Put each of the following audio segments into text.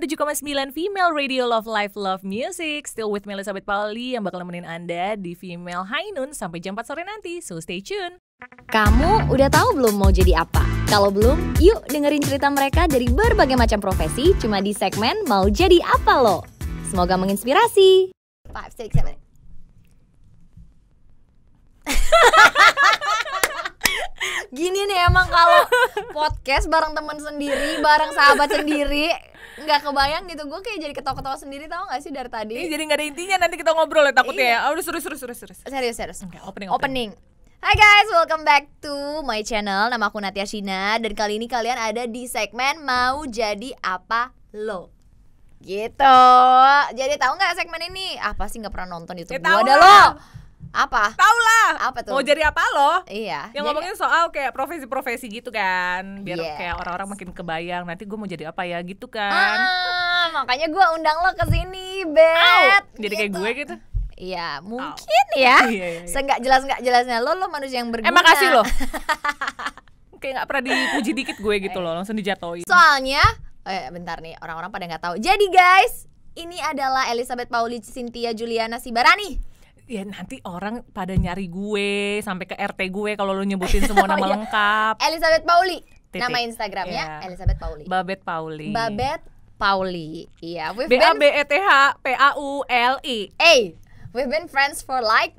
97,9 Female Radio Love Life Love Music Still with me Elizabeth Pauli yang bakal nemenin Anda di Female High Noon sampai jam 4 sore nanti So stay tune Kamu udah tahu belum mau jadi apa? Kalau belum, yuk dengerin cerita mereka dari berbagai macam profesi cuma di segmen Mau Jadi Apa Lo. Semoga menginspirasi. Five, six, seven. Gini nih emang kalau podcast bareng teman sendiri, bareng sahabat sendiri, nggak kebayang gitu. Gue kayak jadi ketawa-ketawa sendiri tau gak sih dari tadi? Ini jadi nggak ada intinya nanti kita ngobrol ya takutnya ya Aduh seru seru seru seru Serius, serius. Oke, opening, opening. Iya. Opening. Hai guys, welcome back to my channel. Nama aku Natia Shina dan kali ini kalian ada di segmen mau jadi apa lo. Gitu. Jadi tahu nggak segmen ini? Apa sih nggak pernah nonton YouTube Ya, tahu gua ada lah. lo. Apa? Tahu lah Apa tuh? Mau jadi apa lo? Iya. Yang jadi- ngomongin soal kayak profesi-profesi gitu kan Biar Yes. kayak orang-orang makin kebayang Nanti gue mau jadi apa ya gitu kan Ah, makanya gua undang lo ke sini, Bet. Au! Jadi kayak gue gitu Iya, mungkin ya. Iya, iya, iya. Seenggak jelas nggak jelasnya lo lo manusia yang Eh berguna. makasih loh Kayak nggak pernah dipuji dikit gue Eh. gitu loh Langsung dijatoin Soalnya, eh, bentar nih orang-orang pada nggak tahu. Jadi guys, ini adalah Elizabeth Pauli Cynthia Juliana Sibarani. Ya nanti orang pada nyari gue Sampai ke RT gue kalau lo nyebutin semua nama Oh, iya. lengkap Elizabeth Pauli. Titik. Nama Instagramnya Iya. Elizabeth Pauli. Babet Pauli Babet Pauli. Iya, we've B A B been E T H P A U L E. I Hey, we've been friends for like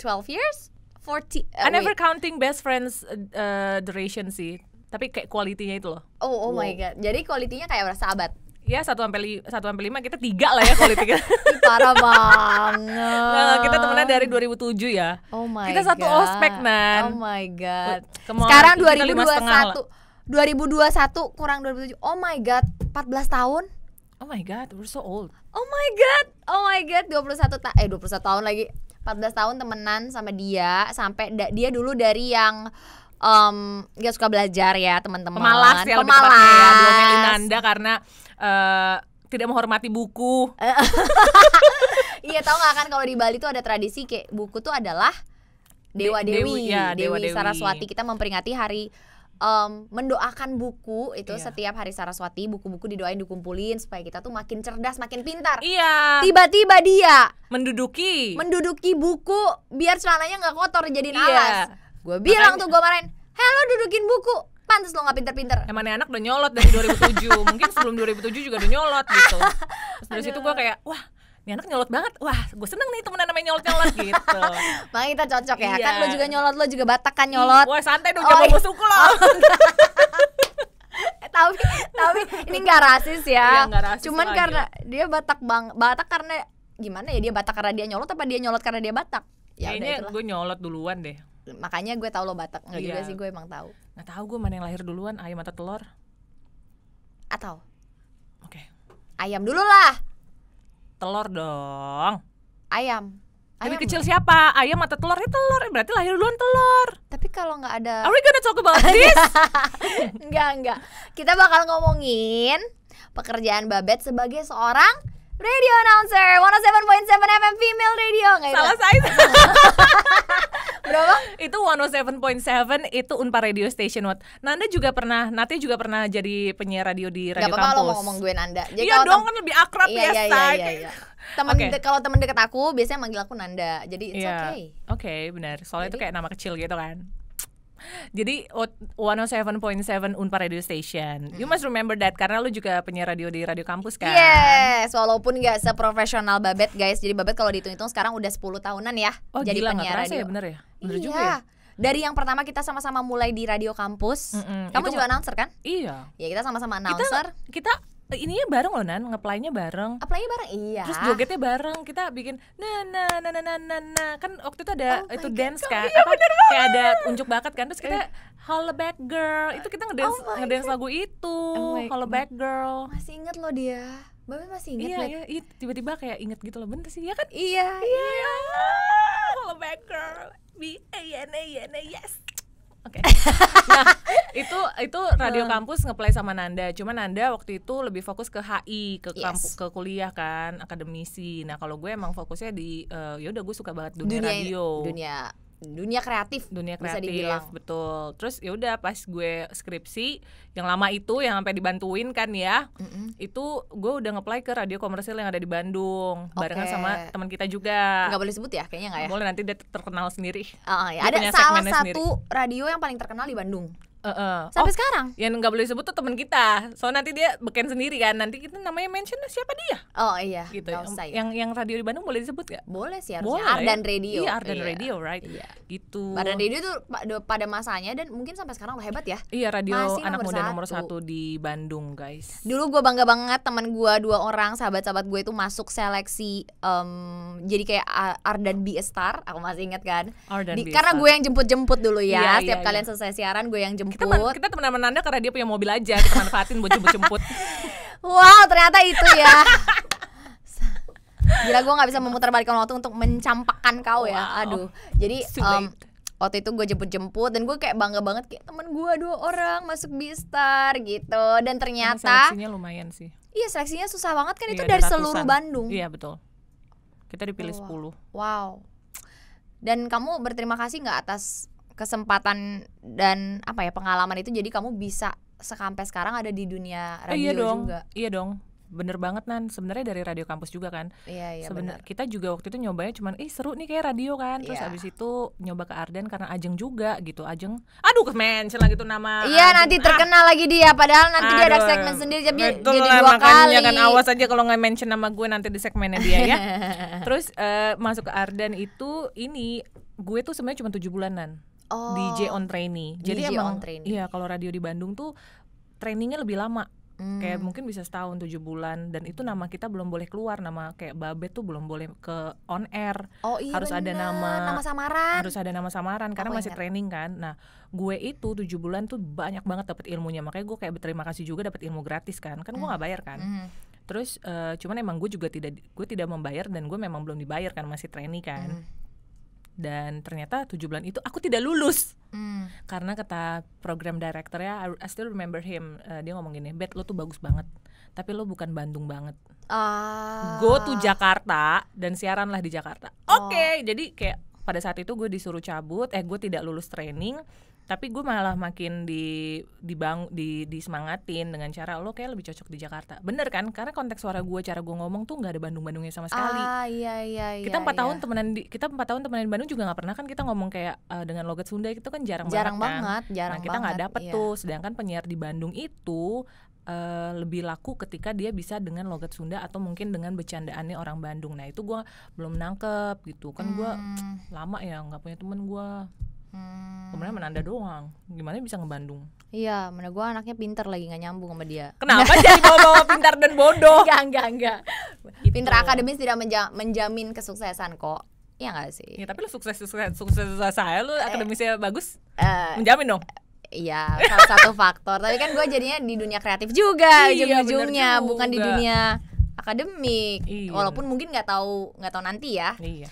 12 years. 40 I uh, never wait. counting best friends uh, duration sih Tapi kayak kualitinya itu loh Oh, oh my god. Jadi kualitinya kayak orang sahabat. Ya satu sampai li- satu sampai lima kita tiga lah ya quality kita Ih, Parah banget. Nah, Kita temenan dari 2007 ya Oh my Kita satu God. ospek, Nan. Oh my god. Come on, Sekarang kita lima setengah 2021. 2021 kurang 2007. Oh my god, 14 tahun. Oh my god we're so old Oh my god. Oh my god, 21 ta eh 21 tahun lagi. 14 tahun temenan sama dia sampai da- dia dulu dari yang em gak suka belajar ya, teman-teman. Pemalas ya lebih Pemalas. tepatnya ya Diomelin anda karena eh, tidak menghormati buku Eh. Iya, tahu gak kan kalau di Bali tuh ada tradisi kayak buku tuh adalah dewa De- dewi, dewi, ya, dewi, dewa-dewi. Saraswati. Kita memperingati hari em, mendoakan buku itu Iya. setiap hari Saraswati, buku-buku didoain dikumpulin supaya kita tuh makin cerdas, makin pintar. Iya Tiba-tiba dia menduduki menduduki buku biar celananya nggak kotor jadiin Iya. alas. Gue bilang Makanya- tuh gue marahin, "Halo dudukin buku." Pantes lo nggak pinter-pinter. Emang nih anak udah nyolot dari 2007 Mungkin sebelum 2007 juga udah nyolot gitu Terus dari situ gue kayak Wah nih anak nyolot banget Wah gue seneng nih temenan namanya nyolot-nyolot gitu Makanya kita cocok ya. Iya. Kan lo juga nyolot, lo juga batak kan nyolot. Wah santai dong Oh, jangan iya. bawa suku loh tapi tapi ini nggak rasis ya. Iya, nggak rasis Cuman lagi karena Ya, dia Batak bang, Batak karena gimana ya dia Batak karena dia nyolot apa dia nyolot karena dia Batak? Ya udah Kayaknya itulah. gue nyolot duluan deh Makanya gue tahu lo Batak. Enggak juga Iya. sih gue emang tahu. Nggak tahu gue mana yang lahir duluan Ayam atau telur Atau Oke ayam dulu lah. Telur dong Ayam. Dari Ayam. kecil siapa? Ayam atau telur? Ya telur, berarti lahir duluan telur Tapi kalau nggak ada Are we gonna talk about Iya. this? enggak enggak. Kita bakal ngomongin pekerjaan Babet sebagai seorang radio announcer 107.7 FM female radio nggak itu? Salah size Berapa? Itu 107.7 itu Unpa Radio Station Wat. Nanda juga pernah, Nati juga pernah jadi penyiar radio di Gak radio apa-apa kampus. kalau mau ngomong gue Nanda. Jadi iya kalau dong tem- kan lebih akrab iya, ya, iya, iya, say. iya, iya. Temen Oke. de- kalau temen deket aku biasanya manggil aku Nanda. Jadi it's Iya. okay. Oke, benar. Soalnya itu Jadi- kayak nama kecil gitu kan. Jadi oh what- 107.7 Unpa Radio Station. You Hmm. must remember that karena lu juga penyiar radio di radio kampus kan. Yes, walaupun gak seprofesional Babet guys. Jadi Babet kalau dihitung-hitung sekarang udah 10 tahunan ya Oh, jadi gila nggak penyiar terasa radio. ya bener ya? Bener iya. juga ya? Dari yang pertama kita sama-sama mulai di radio kampus. Mm-mm. Kamu Itu juga nggak- announcer kan? Iya. Ya kita sama-sama Kita announcer. kita ininya bareng loh Nan, ngeplaynya bareng. Apply bareng iya. Terus jogetnya bareng kita bikin na na na na na na na. kan waktu itu ada Oh my itu God, dance oh kan iya, Eh. apa kayak ada unjuk bakat kan terus kita holla back girl itu kita ngedance Oh my ngedance lagu itu Oh my holla God. back girl Masih inget loh dia. Babet masih inget iya Bet. iya iya, tiba-tiba kayak inget gitu loh bener sih ya kan Iya. Iya. holla Ah! back girl b a n a n a yes Oke. Nah, itu itu radio kampus ngeplay sama Nanda. Cuma Nanda waktu itu lebih fokus ke HI, ke kampu- Yes. ke kuliah kan, akademisi. Nah, kalau gue emang fokusnya di eh, ya udah gue suka banget dunia, radio. dunia dunia kreatif dunia bisa kreatif dibilang. betul terus ya udah pas gue skripsi yang lama itu yang sampai dibantuin kan ya Mm-mm. itu gue udah ngeplay ke radio komersil yang ada di Bandung barengan Oke. sama teman kita juga nggak boleh sebut ya kayaknya nggak ya boleh nanti dia terkenal sendiri Ah, ya. Dia ada punya salah segmennya sendiri. satu radio yang paling terkenal di Bandung Heeh. sampai Oh, sekarang yang nggak boleh disebut tuh teman kita so nanti dia beken sendiri kan nanti kita namanya mention "Nah, siapa dia oh iya gitu nggak yang, usah ya. yang yang radio di Bandung boleh disebut gak boleh sih harusnya boleh Ardan Radio iya Ardan Radio right Iya. gitu Ardan Radio tuh pa- do- pada masanya dan mungkin sampai sekarang lo hebat ya Iya radio Masih anak nomor muda satu. nomor satu di Bandung guys. dulu gue bangga banget teman gue dua orang sahabat-sahabat gue itu masuk seleksi em, jadi kayak A- Ardan Be a Star aku masih ingat kan Ardan Di- Be a karena Star. gue yang jemput-jemput dulu ya Iya, setiap iya, kalian selesai siaran gue yang jemput Kita man- kita teman-teman anda karena dia punya mobil aja kita manfaatin buat jemput-jemput. wow ternyata itu ya gila gue nggak bisa memutarbalikkan waktu untuk mencampakkan kau ya Wow. aduh jadi Too em, late. waktu itu gue jemput-jemput dan gue kayak bangga banget kayak temen gue dua orang masuk Bistar gitu dan Karena ternyata Seleksinya lumayan sih. iya seleksinya susah banget kan itu Iya, ada dari ratusan. seluruh Bandung Iya betul. Kita dipilih Hmm. Wah. 10 Wow. Dan kamu berterima kasih nggak atas kesempatan dan apa ya pengalaman itu jadi kamu bisa sekampai sekarang ada di dunia Eh, radio iya dong. juga. Iya dong. Bener banget Nan. Sebenarnya dari radio kampus juga kan. Iya iya Sebenar- benar. kita juga waktu itu nyobanya cuman eh seru nih kayak radio kan. Terus Iya. abis itu nyoba ke Ardan karena Ajeng juga gitu. Ajeng. Aduh ke mention lagi tuh nama. Iya Ajeng. nanti Ah, terkenal lagi dia padahal nanti dia ada Aduh, segmen sendiri jadi betul jadi lah, dua kali. makanya kan awas aja kalau nggak mention nama gue nanti di segmennya dia ya terus eh, masuk ke Ardan itu ini gue tuh sebenarnya cuma tujuh bulanan Oh. DJ on trainee jadi DJ emang on trainee. iya kalau radio di Bandung tuh trainingnya lebih lama Hmm. kayak mungkin bisa setahun tujuh bulan dan itu nama kita belum boleh keluar nama kayak Babet tuh belum boleh ke on air Oh, iya, harus ada bener. nama, nama samaran. harus ada nama samaran karena Kan. Aku masih ingat. training kan nah gue itu tujuh bulan tuh banyak banget dapat ilmunya makanya gue kayak berterima kasih juga dapat ilmu gratis kan kan gue nggak bayar kan Mhm. terus eh, cuman emang gue juga tidak gue tidak membayar dan gue memang belum dibayar kan masih trainee kan Mhm. dan ternyata tujuh bulan itu aku tidak lulus Hmm. karena kata program direkturnya I- I still remember him eh, dia ngomong gini bet lo tuh bagus banget tapi lo bukan Bandung banget Ah. go to Jakarta dan siaran lah di Jakarta oke Oh. jadi kayak pada saat itu gue disuruh cabut eh gue tidak lulus training tapi gue malah makin di dibang di disemangatin dengan cara lo kayak lebih cocok di Jakarta bener kan karena konteks suara gue cara gue ngomong tuh nggak ada Bandung-Bandungnya sama sekali Ah iya iya iya. kita empat iya. tahun temenan di kita empat tahun temenan di Bandung juga nggak pernah kan kita ngomong kayak eh, dengan logat Sunda itu kan jarang, banget, jarang kan? banget, jarang nah kita nggak banget, dapet iya. tuh sedangkan penyiar di Bandung itu eh, lebih laku ketika dia bisa dengan logat Sunda atau mungkin dengan bercandaannya orang Bandung nah itu gua belum nangkep gitu kan gua Hmm, lama ya nggak punya temen gua hmm. kemarin menanda doang gimana bisa ngebandung Iya, mana gue anaknya pinter lagi nggak nyambung sama dia. kenapa jadi bawa-bawa pintar dan bodoh Enggak, enggak, enggak. Gitu. Pinter akademis tidak menja- menjamin kesuksesan kok. Iya enggak sih? ya tapi lu sukses sukses sukses sukses saya lu akademisnya bagus Eh, menjamin dong iya, salah satu faktor. Tapi kan gue jadinya di dunia kreatif juga Iya, ujung-ujungnya, bener bukan di juga. dunia akademik. Iya. Walaupun mungkin nggak tahu nggak tahu nanti ya. iya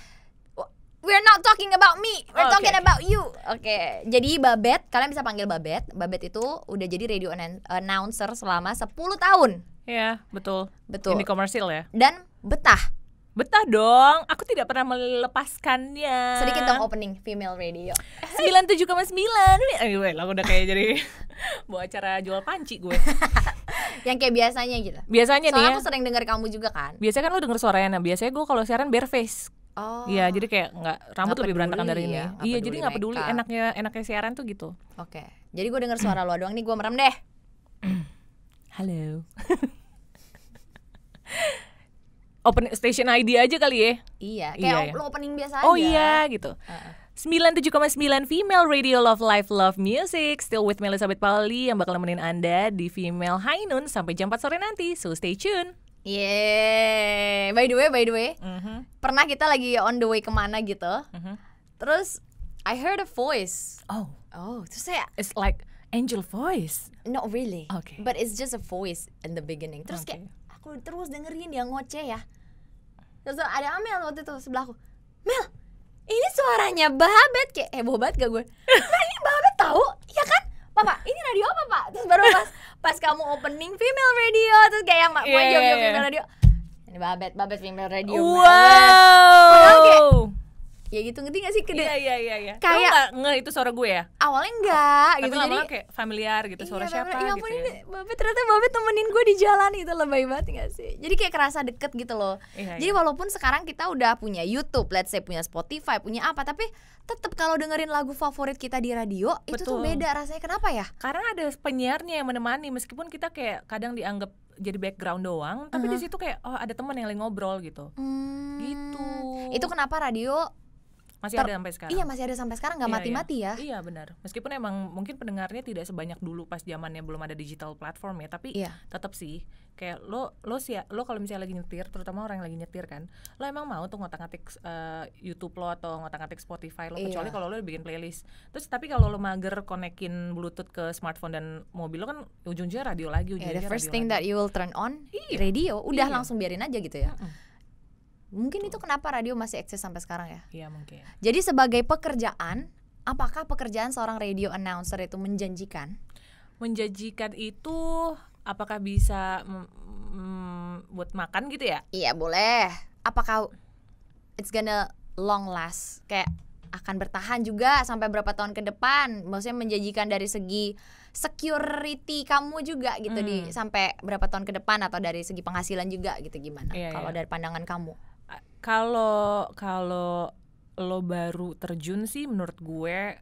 We're not talking about me, Oh, we're oke, talking oke. about you. Oke, jadi Babet, kalian bisa panggil Babet. Babet itu udah jadi radio announ- announcer selama 10 tahun. Iya, betul. Betul. Ini komersil ya. Dan betah. Betah dong. Aku tidak pernah melepaskannya. Sedikit dong opening female radio. 97,9. Eh, gue lah udah kayak jadi buat acara jual panci gue. Yang kayak biasanya gitu. Biasanya nih Soalnya ya. aku sering dengar kamu juga kan. Biasanya kan lo denger suaranya. Nah, biasanya gue kalau siaran bare face. Oh. Iya, jadi kayak nggak rambut Nggak lebih berantakan dari peduli ini. ya, nggak iya, peduli jadi nggak peduli makeup. enaknya enaknya siaran tuh gitu. Oh, Oke. Jadi gue dengar suara lo doang nih gue merem deh. Halo. Open station ID aja kali ya. Iya, Iya, kayak iya. lo opening biasa aja. Oh iya gitu. Heeh. 97,9 Female Radio Love Life Love Music Still with me Elizabeth Pauli Yang bakal nemenin Anda di Female High Noon Sampai jam 4 sore nanti So stay tune Yeay. By the way, by the way, pernah kita lagi on the way kemana gitu. Mhm. Terus I heard a voice. Oh Oh, terus saya It's like angel voice not really. Oke. But it's just a voice in the beginning. Terus Oke. kayak aku terus dengerin dia ngoceh ya. Terus ada Amel waktu itu sebelah aku. Mel, ini suaranya Babet kayak heboh banget gak gue? Mel ini Babet tahu? Ya kan? Papa, ini radio apa pak? Terus baru pas pas kamu opening female radio terus kayak mak gue Iya, jawab iya, iya. female radio. Ini Babet, Babet female radio. Mel." Padahal kayak, Wow ya gitu ngerti gak sih Kede- Iya iya iya iya. Kayak- Kayak nge itu suara gue ya. awalnya enggak Tapi gitu lama-lama kayak familiar gitu Iya, suara Mbak siapa Mel, ya gitu. ampun ya. ini Babe ternyata Babe temenin gue di jalan gitu lebay banget gak sih jadi kayak kerasa deket gitu loh Iya, jadi walaupun sekarang kita udah punya YouTube let's say punya Spotify punya apa tapi tetap kalau dengerin lagu favorit kita di radio itu Betul. tuh beda rasanya kenapa ya Karena ada penyiarnya yang menemani meskipun kita kayak kadang dianggap jadi background doang, tapi di situ kayak oh ada teman yang lagi ngobrol gitu. Hmm, Gitu. itu kenapa radio Masih ada ter- sampai sekarang. iya masih ada sampai sekarang nggak Iya, mati-mati iya. ya Iya benar. Meskipun emang mungkin pendengarnya tidak sebanyak dulu pas zamannya belum ada digital platform ya, tapi Iya. tetap sih kayak lo lo sih lo kalau misalnya lagi nyetir, terutama orang yang lagi nyetir kan, lo emang mau tuh ngotak-ngatik eh, YouTube lo atau ngotak-ngatik Spotify lo Iya. kecuali kalau lo bikin playlist. Terus tapi kalau lo mager konekin Bluetooth ke smartphone dan mobil lo kan ujung-ujungnya radio lagi, Ya, ujung-ujungnya the radio first thing lagi. that you will turn on Iya. radio udah Iya. langsung biarin aja gitu ya Mm-mm. mungkin itu kenapa radio masih eksis sampai sekarang ya Iya mungkin. Jadi sebagai pekerjaan, apakah pekerjaan seorang radio announcer itu menjanjikan? Menjanjikan itu apakah bisa mm, mm, buat makan gitu ya? Iya boleh. Apakah it's gonna long last? Kayak akan bertahan juga sampai berapa tahun ke depan? Maksudnya menjanjikan dari segi security kamu juga gitu Hmm. di sampai berapa tahun ke depan atau dari segi penghasilan juga gitu gimana? Iya, Kalau iya. dari pandangan kamu? A- kalau kalau lo baru terjun sih menurut gue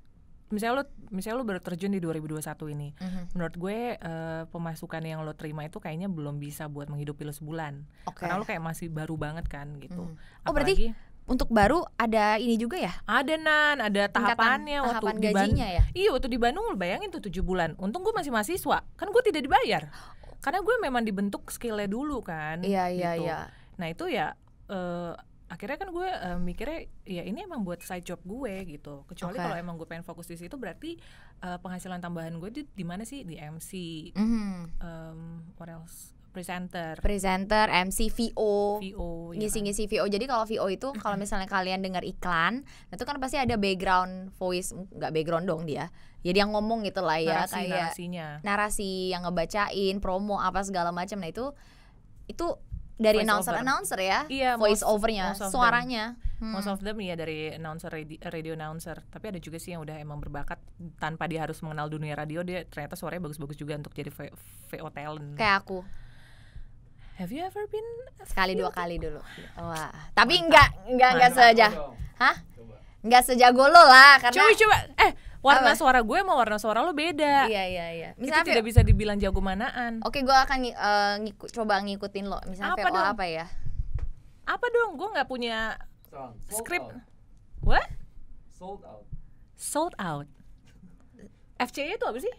misalnya lo misalnya lo baru terjun di 2021 ini menurut gue eh, pemasukan yang lo terima itu kayaknya belum bisa buat menghidupi lo sebulan Oke. karena lo kayak masih baru banget kan gitu Mhm. Oh, berarti Apalagi Untuk baru ada ini juga ya? ada nan ada tingkatan tahapannya waktu tahapan di Ban- gajinya ya? iya waktu di Bandung lo bayangin tuh tujuh bulan untung gue masih mahasiswa kan gue tidak dibayar karena gue memang dibentuk skillnya dulu kan Iya iya gitu. iya. Nah itu ya eh, akhirnya kan gue eh, mikirnya ya ini emang buat side job gue gitu. Kecuali Oke. kalau emang gue pengen fokus di situ berarti eh, penghasilan tambahan gue di di mana sih di MC, Mhm. em, what else, presenter, Presenter, MC, VO. VO, ya kan? ngisi-ngisi VO. Jadi kalau VO itu kalau misalnya kalian dengar iklan, itu kan pasti ada background voice, nggak background dong dia. Jadi yang ngomong gitu lah ya, narasi kayak narasinya. narasi yang ngebacain, promo apa segala macam. Nah, itu itu dari Voice announcer over. announcer ya. Iya, voice most- overnya, most of them. suaranya. Hmm. Most of them ya dari announcer radio, radio announcer. Tapi ada juga sih yang udah emang berbakat tanpa dia harus mengenal dunia radio dia ternyata suaranya bagus-bagus juga untuk jadi V- VO talent. Kayak aku Have you ever been a sekali VO dua kali dulu. Wah, tapi enggak enggak enggak seja. Hah? Enggak sejago lo lah karena Coba coba eh warna Apa? suara gue sama warna suara lo beda. Iya, iya, iya. Itu Misalnya Oh. tidak bisa dibilang jago manaan. Oke, gue akan ngi- eh, ngiku- coba ngikutin lo. Misalnya Apa VO dong? apa ya? Apa dong? Gue nggak punya skrip. Script. What? Sold out. Sold out. FCE itu apa sih?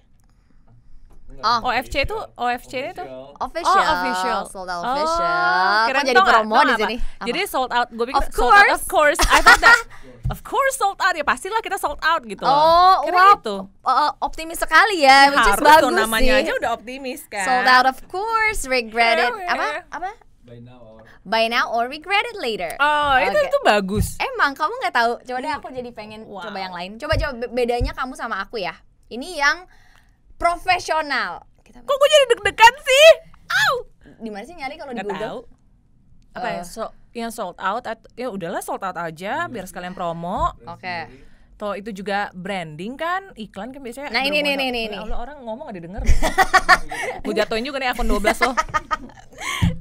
Oh. OFC itu OFC itu Official. Oh, official. Sold out official. Oh, Kok keren jadi tau nggak? promo Tau di nggak, sini? Pak? Apa? Jadi sold out. Gue pikir Of sold out, course. of course. I thought that of course sold out ya pastilah kita sold out gitu. loh. oh, Kira wow. gitu. Oh, optimis sekali ya, which is Harus bagus dong, namanya sih. aja udah optimis kan. Sold out of course, regret it. Fair, Apa? fair. Apa? By now our By now or regret it later. Oh, itu Oke. itu bagus. Emang kamu nggak tahu? Coba deh aku jadi pengen Wow. coba yang lain. Coba coba be- bedanya kamu sama aku ya. Ini yang profesional. Kita Kok gue jadi deg-degan sih? Au. di mana sih nyari kalau di nggak tahu Google? apa ya Kan Eh. Iya. so- yang sold out at- ya udahlah sold out aja biar sekalian promo brand Oke. sendiri. toh itu juga branding kan iklan kan biasanya Nah, ini, ini, ini, ini, ini. Allah, orang ngomong ada denger gue jatuhin juga nih akun 12 loh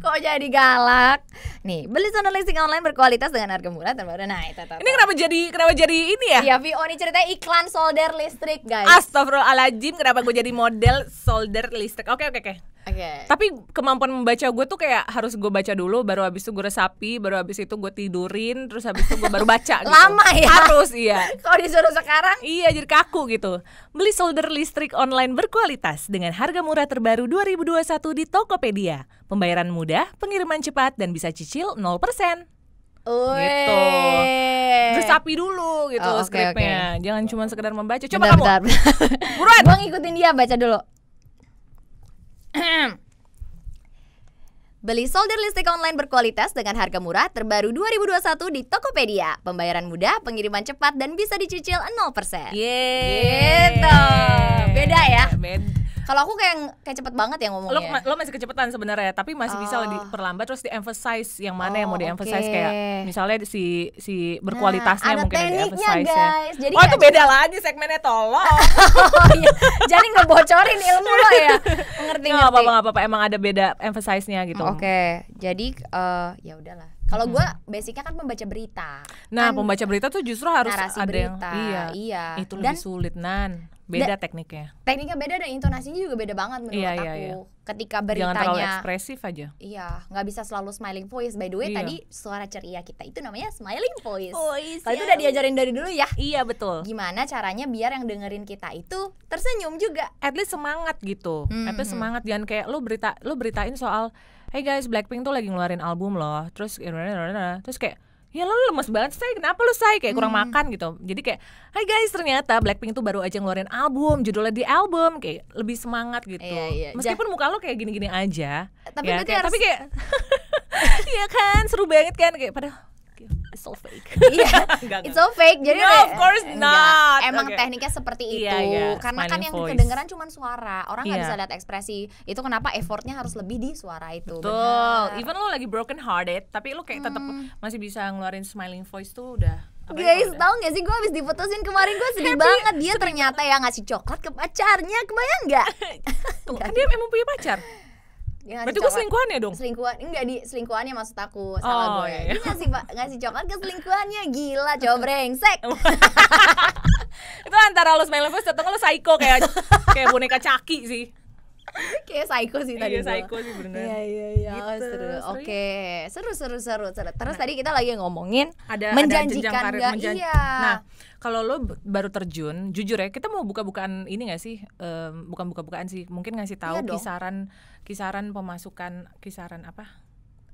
Kok jadi galak? Nih, beli sound listing online berkualitas dengan harga murah terbaru. Nah, itu itu, itu. ini kenapa jadi kenapa jadi ini ya Iya, VO nih ceritanya iklan solder listrik, guys. Astagfirullahaladzim kenapa gue jadi model solder listrik oke oke oke Oke. tapi kemampuan membaca gue tuh kayak harus gue baca dulu baru habis itu gue resapi baru habis itu gue tidurin terus habis itu gue baru baca gitu. Lama ya? harus iya Kalau disuruh sekarang, Iya jadi kaku gitu Beli solder listrik online berkualitas Dengan harga murah terbaru 2021 di Tokopedia Pembayaran mudah, pengiriman cepat, dan bisa cicil 0% Wih. Gitu. Terus api dulu gitu Eh. Oh, oke, skripnya Jangan cuma sekedar membaca Coba Bentar, kamu bentar. Buruan. Gua ngikutin dia baca dulu. Beli solder listrik online berkualitas dengan harga murah terbaru 2021 di Tokopedia. Pembayaran mudah, pengiriman cepat, Iya. dan bisa dicicil 0%. Yeay. Gitu. Beda ya? Bed- Kalau aku kayak kayak cepet banget ya lo ngomongnya. ma- lo masih kecepatan sebenarnya tapi masih bisa Oh. diperlambat terus di-emphasize yang mana yang mau Oh, di-emphasize oke. Nah, kayak misalnya si si berkualitasnya ada mungkin yang tekniknya di-emphasize ya. guys. Jadi Oh nggak itu beda lagi segmennya tolong. Jadi ngebocorin ilmu lo ya. Ngerti Nggak ngerti. Oh, apa-apa nggak apa-apa emang ada beda emphasize-nya gitu. Hmm. Oke, jadi eh, ya udahlah. Kalau gua basicnya kan pembaca berita. Nah Kan pembaca berita tuh justru harus narasi ada yang berita. iya, iya. itu Dan lebih sulit nan. Beda tekniknya. tekniknya beda dan intonasinya juga beda banget menurut Iya, aku. iya, iya. Ketika Jangan terlalu beritanya ekspresif aja. Iya, nggak bisa selalu smiling voice. By the way, Iya. tadi suara ceria kita itu namanya smiling voice. Voice, Kalau itu ya. udah diajarin dari dulu ya. Iya betul. Gimana caranya biar yang dengerin kita itu tersenyum juga? At least semangat gitu. At least Mhm. semangat jangan kayak lo berita lo beritain soal Hey guys, Blackpink tuh lagi ngeluarin album loh. Terus ya, terus kayak Ya lo lemes banget say, kenapa lo say? Kayak kurang Hmm. makan gitu Jadi kayak, hai guys ternyata Blackpink tuh baru aja ngeluarin album Judulnya di album, kayak lebih semangat gitu Iya, iya. Meskipun muka lo kayak gini-gini aja Tapi ya, berarti kayak- harus- Tapi kayak, iya kan seru banget kan Kayak padahal, it's so fake Iya, Enggak, it's so fake. Jadi No, re- of course enggak. not. Emang Oke. tekniknya seperti itu. Iya, iya, Karena kan smiling yang voice. kedengeran cuma suara. Orang nggak Iya. bisa lihat ekspresi. Itu kenapa effortnya harus lebih di suara itu. Betul. Benar. Hmm. Even lo lagi broken hearted, tapi lo kayak tetap masih bisa ngeluarin smiling voice tuh udah. apalagi Guys, kalau udah- tau gak sih gue abis diputusin kemarin gue sedih banget Dia ternyata yang ngasih coklat ke pacarnya, kebayang gak? Tuh, kan dia emang punya pacar. Dia ngasih Berarti gue coklat. selingkuhannya dong. selingkuhan enggak di selingkuhannya maksud aku salah Oh, gue iya, dia iya. ngasih ba- ngasih coklat ke selingkuhannya gila coba brengsek Itu antara lo smiling voice atau lo psycho kayak kayak boneka caki sih. kayak psycho sih tadi Iya gue. psycho sih bener. gitu. iya iya iya Oh, Gitu, seru seru ya? Nah. oke seru seru seru seru terus tadi kita lagi ngomongin Ada menjanjikan ada jenjang karir, nggak? menjan- iya Nah, kalau lo b- baru terjun, jujur ya, kita mau buka-bukaan ini gak sih? Em, bukan buka-bukaan sih, mungkin ngasih tahu Iya dong. kisaran kisaran pemasukan kisaran apa?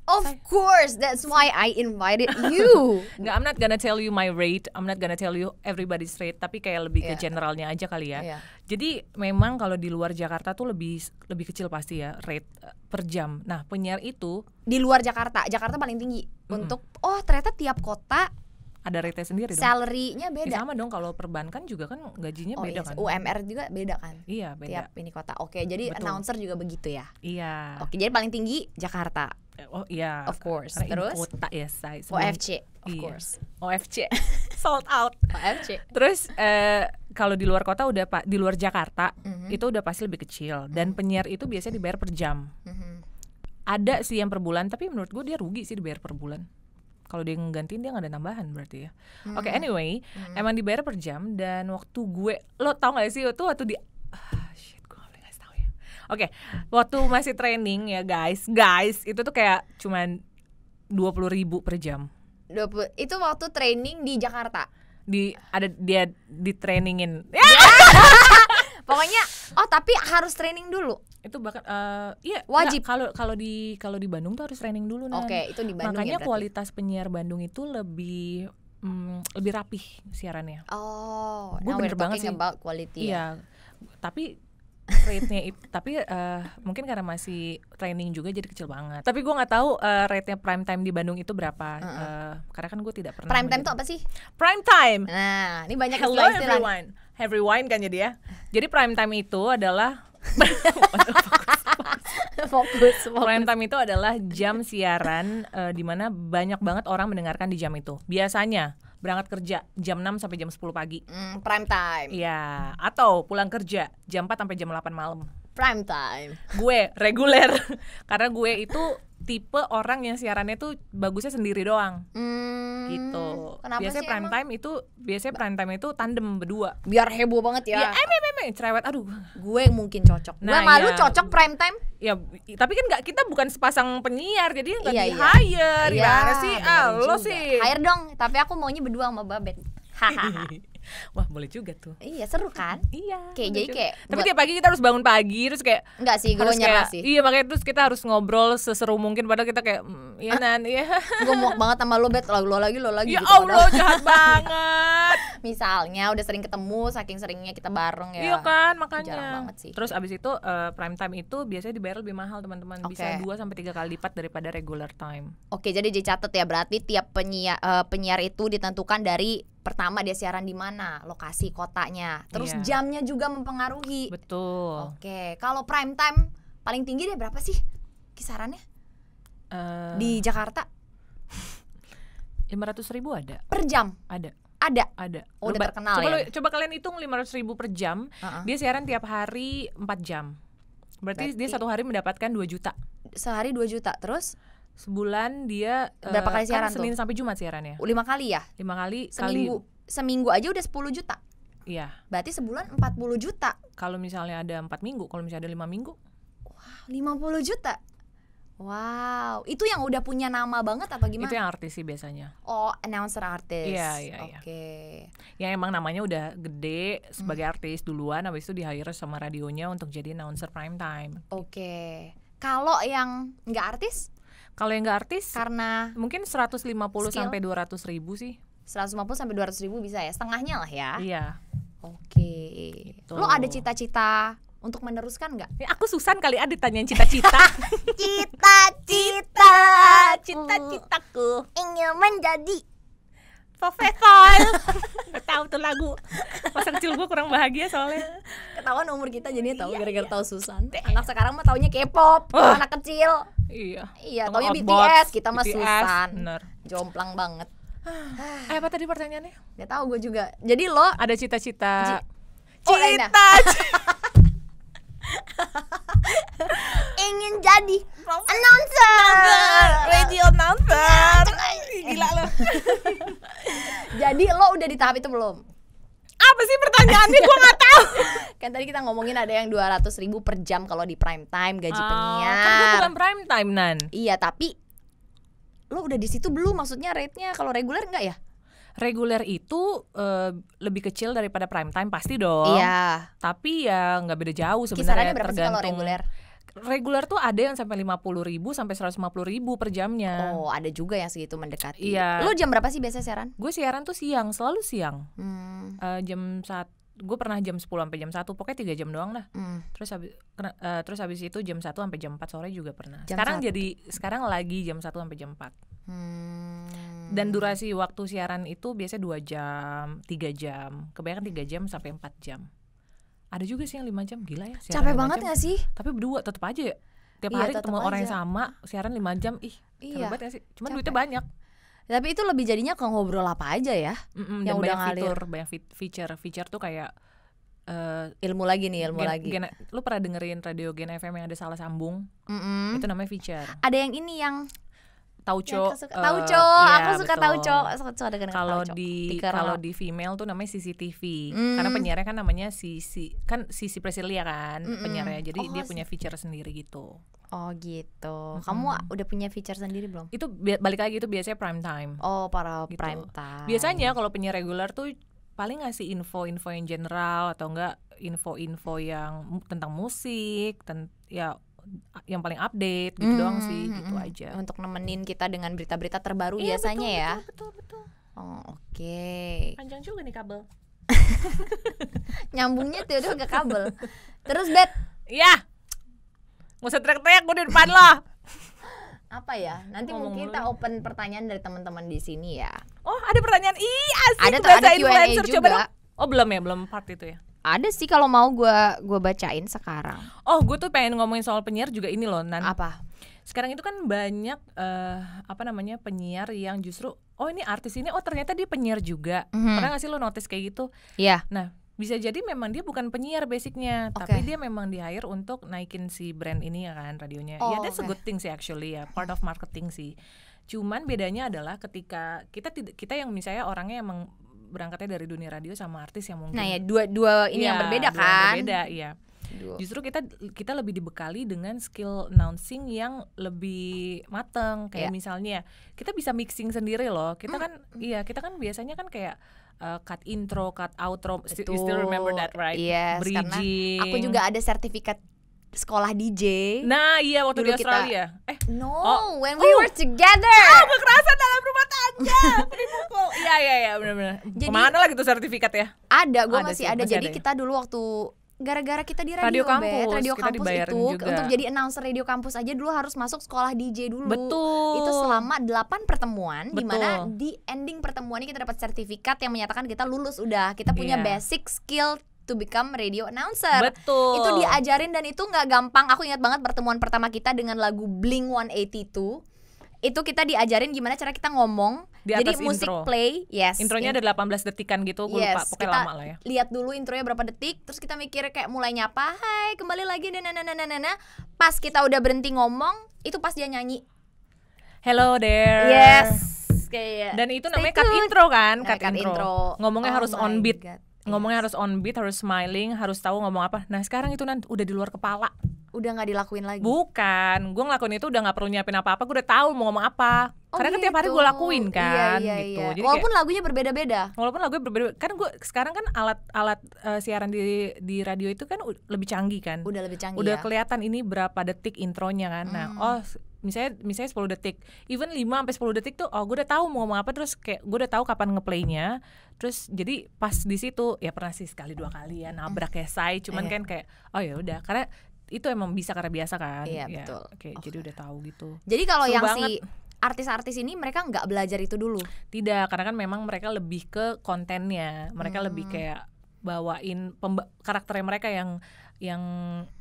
of course that's why I invited you Nggak, I'm not gonna tell you my rate, I'm not gonna tell you everybody's rate, tapi kayak lebih Iya. ke generalnya aja kali ya. Iya. Jadi memang kalau di luar Jakarta tuh lebih lebih kecil pasti ya rate eh, per jam. Nah penyiar itu di luar Jakarta Jakarta paling tinggi untuk oh ternyata tiap kota ada rate sendiri dong. salary-nya Ya, beda sama dong kalau perbankan juga kan gajinya oh beda iya kan. UMR juga beda kan Iya beda. tiap ini kota oke jadi Betul. announcer juga begitu ya Iya. Oke, jadi paling tinggi Jakarta, Eh, Oh iya. Of course. Karena ibu Terus? kota ya saya. OFC, of Iya. course. OFC. Sold out. OFC. Terus eh, kalau di luar kota udah pak di luar Jakarta itu udah pasti lebih kecil dan penyiar itu biasanya dibayar per jam. Ada sih yang per bulan tapi menurut gue dia rugi sih dibayar per bulan. Kalau dia ngegantiin dia nggak ada tambahan berarti ya. Oke anyway emang dibayar per jam dan waktu gue lo tau gak sih itu waktu di Ah, shit, gue nggak boleh ngasih tahu ya. Oke, waktu masih training ya guys, guys itu tuh kayak cuman dua puluh ribu per jam. 20 itu waktu training di Jakarta. Di ada dia di trainingin. ya, Pokoknya oh tapi harus training dulu. itu bahkan eh, iya nggak, Wajib. kalau kalau di kalau di Bandung tuh harus training dulu Nan. Oke, itu di Bandung makanya ya berarti. kualitas penyiar Bandung itu lebih mm, lebih rapih siarannya Oh, Gua now bener we're banget talking sih. about quality. ya. iya tapi rate-nya itu tapi eh, mungkin karena masih training juga jadi kecil banget tapi gua nggak tahu eh, rate-nya prime time di Bandung itu berapa Eh, karena kan gue tidak pernah Prime time menjadi- tuh apa sih? prime time Nah, ini banyak Hello istilah-istilah. everyone. Everyone kan jadi ya. Jadi prime time itu adalah fokus, fokus. prime time itu adalah jam siaran eh, di mana banyak banget orang mendengarkan di jam itu. Biasanya berangkat kerja jam 6 sampai jam 10 pagi. Hmm, prime time. Iya, atau pulang kerja jam 4 sampai jam 8 malam. Prime time. Gue reguler karena gue itu tipe orang yang siarannya tuh bagusnya sendiri doang Hmm, gitu. Kenapa biasanya sih prime emang? time itu biasanya prime time itu tandem berdua. Biar heboh banget ya. Ya, emang emang cerewet aduh Gue mungkin cocok. Gue Nah, malu iya. cocok prime time. ya i- tapi kan nggak kita bukan sepasang penyiar jadi nggak Iya, di iya. hire Iya, gimana sih ah bener lo juga. sih Hire dong, tapi aku maunya berdua sama Babet. Hahaha. wah boleh juga tuh iya, seru kan? iya Kayak boleh jadi juga. kayak tapi buat- tiap pagi kita harus bangun pagi terus kayak Enggak sih, gue harus nyerah kayak sih. iya makanya terus kita harus ngobrol seseru mungkin padahal kita kayak mm, iya nan iya Gue muak banget sama lo, Bet. Lo, lo lagi, lo Ah. ya lagi. gitu. allah Padahal jahat banget Misalnya udah sering ketemu, saking seringnya kita bareng ya. iya kan Jarang makanya banget sih. terus abis itu eh, prime time itu biasanya dibayar lebih mahal teman-teman bisa Oke. 2 sampai tiga kali lipat daripada regular time Oke, jadi dicatat ya berarti tiap penyiar penyiar itu eh, ditentukan dari pertama dia siaran di mana, lokasi kotanya, terus Iya. jamnya juga mempengaruhi. Oh. Betul. Oke, kalau prime time paling tinggi deh berapa sih kisarannya Eh, di Jakarta lima ratus ribu ada, per jam? ada, Ada. ada. Oh, udah Coba- terkenal coba ya? lu- coba kalian hitung lima ratus ribu per jam. Heeh. Dia siaran tiap hari 4 jam. Berarti, dia Berarti- satu hari mendapatkan 2 juta. Sehari 2 juta terus Sebulan dia eh, Berapa kali kan siaran tuh? Senin sampai Jumat siarannya. lima kali ya Lima kali seminggu. Seminggu aja udah 10 juta. kali. Iya. Berarti sebulan 40 juta. Kalau misalnya ada empat minggu, kalau misalnya ada lima minggu, 50 juta. Wow, itu yang udah punya nama banget atau gimana? itu yang artis sih biasanya. Oh, announcer artis. Iya, iya, iya. Oke. Yang emang namanya udah gede sebagai Hmm. artis duluan, habis itu di hire sama radionya untuk jadi announcer prime time. Oke. Kalau yang nggak artis Kalau yang nggak artis, karena mungkin 150 Skill. sampai 200 ribu sih. 150 sampai 200 ribu bisa ya, setengahnya lah ya. Iya. Oke. Gitu. Lo ada cita-cita untuk meneruskan nggak? Ini aku Susan kali ada tanyain cita-cita. Cita-cita, Cita-citaku. ingin menjadi. Profesor Gak tahu tuh lagu Masa kecil gue kurang bahagia soalnya Ketahuan umur kita jadinya Iya, tahu gara-gara tahu Susan. Anak sekarang mah taunya K-pop, anak kecil. Iya Iya, Atau taunya nggak BTS, Outbox, kita mah BTS, Susan. bener. Jomplang banget. Eh apa tadi pertanyaannya? Gak tahu gue juga. Jadi lo Ada cita-cita Oh, Aina. ingin jadi announcer. Radio announcer Gila lo Jadi lo udah di tahap itu belum? Apa sih pertanyaannya? Gue gak tahu Kan tadi kita ngomongin ada yang 200 ribu per jam kalau di prime time gaji penyiar. Kan gue bukan prime time Nan Iya tapi lo udah di situ belum? Maksudnya rate-nya kalau reguler nggak ya? Reguler itu eh, lebih kecil daripada prime time pasti dong Iya. Tapi ya nggak beda jauh Oh, sebenarnya Kisarannya berapa sih kalau reguler? Reguler tuh ada yang sampai 50 ribu sampai 150 ribu per jamnya Oh ada juga yang segitu mendekati. ya. Iya. Lo jam berapa sih biasanya siaran? Gue siaran tuh siang, selalu siang. Hmm, Eh, jam saat gue pernah jam 10 sampai jam 1, pokoknya 3 jam doang lah. hmm. Terus habis kena- eh, terus habis itu jam 1 sampai jam 4 sore juga pernah. Jam sekarang 1. jadi sekarang lagi jam 1 sampai jam 4. Hmm. Dan durasi waktu siaran itu biasanya 2 jam, 3 jam. Kebanyakan 3 jam sampai 4 jam. Ada juga sih yang 5 jam, gila ya siaran capek lima banget jam. nggak sih? Tapi berdua tetap aja ya. Tiap Iya, hari tetep ketemu orang yang aja. sama, siaran 5 jam, ih, capek Iya. banget ya? gak sih? Cuman capek. duitnya banyak. Tapi itu lebih jadinya ke ngobrol apa aja ya? Mm-mm, Yang dan udah banyak ngalir. fitur, banyak fit- feature. Feature tuh kayak eh, Ilmu lagi nih, ilmu Gen- lagi. Gen- lu pernah dengerin radio Gen FM yang ada salah sambung? Mm-mm. Itu namanya feature. Ada yang ini yang Tauco. yang aku suka. eh, Tauco, iya, aku suka betul. tauco. Suka- Suka dengan Kalau tauco. di Tiker kalau lo. di female tuh namanya CCTV. Mm. Karena penyiarnya kan namanya Sisi kan Sisi Presilia kan Mm-mm. penyiarnya. Jadi Oh, dia si- punya feature sendiri gitu. Oh gitu. Kamu udah punya feature sendiri belum? Itu bi- balik lagi itu biasanya prime time. Oh para Gitu. prime time. Biasanya kalau penyiar reguler tuh paling ngasih info-info yang general atau enggak info-info yang mu- tentang musik, ten- ya yang paling update gitu Mm, doang sih, mm, gitu mm. aja. Iya, Untuk nemenin kita dengan berita-berita terbaru biasanya ya. Betul, betul, betul. Oh, Oke. Panjang juga nih kabel. Nyambungnya tuh udah ke kabel. Terus bet Iya. Nggak usah teriak-teriak gue di depan lo. apa ya? Nanti Ngomong mungkin mulu kita open pertanyaan dari teman-teman di sini ya. Oh, ada pertanyaan. Ih, asik Ada tuh, ada bahasa Q&A influencer coba juga. dong. Oh, belum ya, belum part itu ya. Ada sih kalau mau gua gua bacain sekarang. Oh, gue tuh pengen ngomongin soal penyiar juga ini loh, Nan. Apa? Sekarang itu kan banyak eh, apa namanya penyiar yang justru oh ini artis ini oh ternyata dia penyiar juga. Mhm. Pernah gak sih lo notice kayak gitu? Iya. Nah, bisa jadi memang dia bukan penyiar basicnya, Oke. tapi dia memang di hire untuk naikin si brand ini ya kan radionya. Oh, ya that's oke. a good thing sih actually ya, part of marketing sih. Cuman bedanya adalah ketika kita tidak kita yang misalnya orangnya yang meng- berangkatnya dari dunia radio sama artis yang mungkin Nah ya dua dua ini Iya, yang berbeda dua yang kan. Berbeda, iya. Duo. Justru kita kita lebih dibekali dengan skill announcing yang lebih mateng kayak Iya. Mm. misalnya kita bisa mixing sendiri loh. Kita kan iya, kita kan biasanya kan kayak uh, cut intro, cut outro. Still, you still remember that right? Yes, karena Bridging. Aku juga ada sertifikat sekolah DJ. Nah, iya waktu Dulu di kita- Australia. Eh, No, Oh. when we Oh. were together. kekerasan dalam rumah tangga. Dipukul. Iya, iya, iya, benar-benar. Jadi- Kemana lagi tuh sertifikat ya? Ada, gue Ada masih sih, ada. masih Jadi ada ya? kita dulu waktu gara-gara kita di radio, Radio Bet. kampus, radio kita kampus dibayarin itu juga. untuk jadi announcer radio kampus aja dulu harus masuk sekolah DJ dulu. Betul. Itu selama 8 pertemuan di Betul. mana di ending pertemuan ini kita dapat sertifikat yang menyatakan kita lulus udah, kita punya Iya. basic skill to become radio announcer. Betul. Itu diajarin dan itu nggak gampang. Aku ingat banget pertemuan pertama kita dengan lagu Blink 182. Itu kita diajarin gimana cara kita ngomong. Di jadi atas musik intro. play, yes. Intronya ada 18 detikan gitu, gue lupa, pokoknya kita lama lah ya. Lihat dulu intronya berapa detik, terus kita mikir kayak mulai nyapa, "Hai, kembali lagi." Dan nah, nah, nah, nah, nah. Pas kita udah berhenti ngomong, itu pas dia nyanyi. Hello there. Yes. Kayak Dan itu stay namanya cut tuned. intro kan, Nah, cut, intro. Ngomongnya Oh harus my on beat. God. Ngomongnya harus on beat, harus smiling, harus tahu ngomong apa. Nah sekarang itu nanti udah di luar kepala. udah nggak dilakuin lagi. Bukan, gue ngelakuin itu udah nggak perlu nyiapin apa-apa, gue udah tahu mau ngomong apa. Oh, Karena kan tiap hari gitu. gue lakuin Iya, kan, iya, gitu. iya. Jadi kayak- Walaupun lagunya berbeda-beda. walaupun lagunya berbeda kan gue sekarang kan alat-alat eh, siaran di di radio itu kan u- lebih canggih kan Udah lebih canggih udah ya. kelihatan ini berapa detik intronya kan nah Hmm. oh s- misalnya misalnya 10 detik even 5 sampai 10 detik tuh oh gue udah tahu mau ngomong apa terus kayak gue udah tahu kapan ngeplaynya terus jadi pas di situ ya pernah sih sekali dua kali ya nabrak ya say cuman Iya. kan kayak oh ya udah karena itu emang bisa karena biasa kan Iya, Ya, betul. oke jadi udah tahu gitu Jadi kalau Seru yang banget. si artis-artis ini mereka nggak belajar itu dulu. Tidak, karena kan memang mereka lebih ke kontennya. Mereka lebih kayak bawain pemba- karakternya mereka yang yang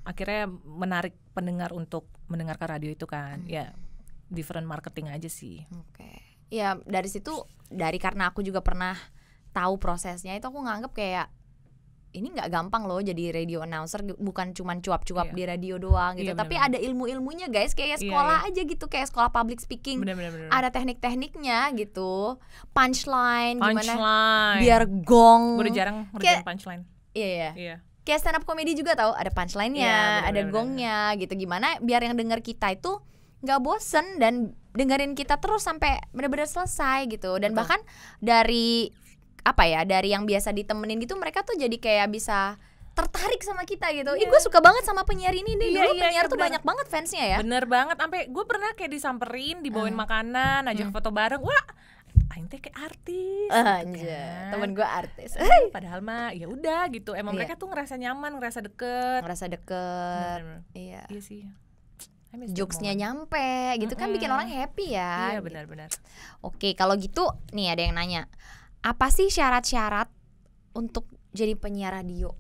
akhirnya menarik pendengar untuk mendengarkan radio itu kan. Ya, different marketing aja sih. Oke. Ya dari situ dari karena aku juga pernah tahu prosesnya itu aku nganggep kayak ini nggak gampang loh jadi radio announcer gu- bukan cuman Iya. cuap-cuap di radio doang gitu Iya, tapi ada benar-benar. ilmu-ilmunya guys kayak Iya, sekolah aja gitu kayak sekolah public speaking Benar-benar. ada teknik-tekniknya gitu punchline, gimana punchline. biar gong gue udah jarang ngerjain Kayak- punchline. iya iya Iya. kayak stand up comedy juga tau ada punchline-nya, Iya, benar, ada benar, gongnya gitu gimana biar yang denger kita itu nggak bosen dan dengerin kita terus sampai benar-benar selesai gitu dan Betul. bahkan dari apa ya dari yang biasa ditemenin gitu mereka tuh jadi kayak bisa tertarik sama kita gitu. Ih gue suka banget sama penyiar ini nih. Iya, Dulu iya, penyiar iya, tuh benar. banyak banget fansnya ya. Ah. Bener banget sampai gue pernah kayak disamperin, dibawain makanan, ajak Hmm. foto bareng. Wah, aing teh kayak artis. gitu Ah, Anjay, kan. temen gue artis padahal mah ya udah gitu. Emang Iya. Eh, mereka tuh ngerasa nyaman, ngerasa deket. ngerasa deket Bener-bener. iya Iya sih. I miss that jokesnya moment. nyampe gitu kan bikin Mm-mm. orang happy ya Iya gitu. benar-benar. Oke, kalau gitu nih ada yang nanya. Apa sih syarat-syarat untuk jadi penyiar radio?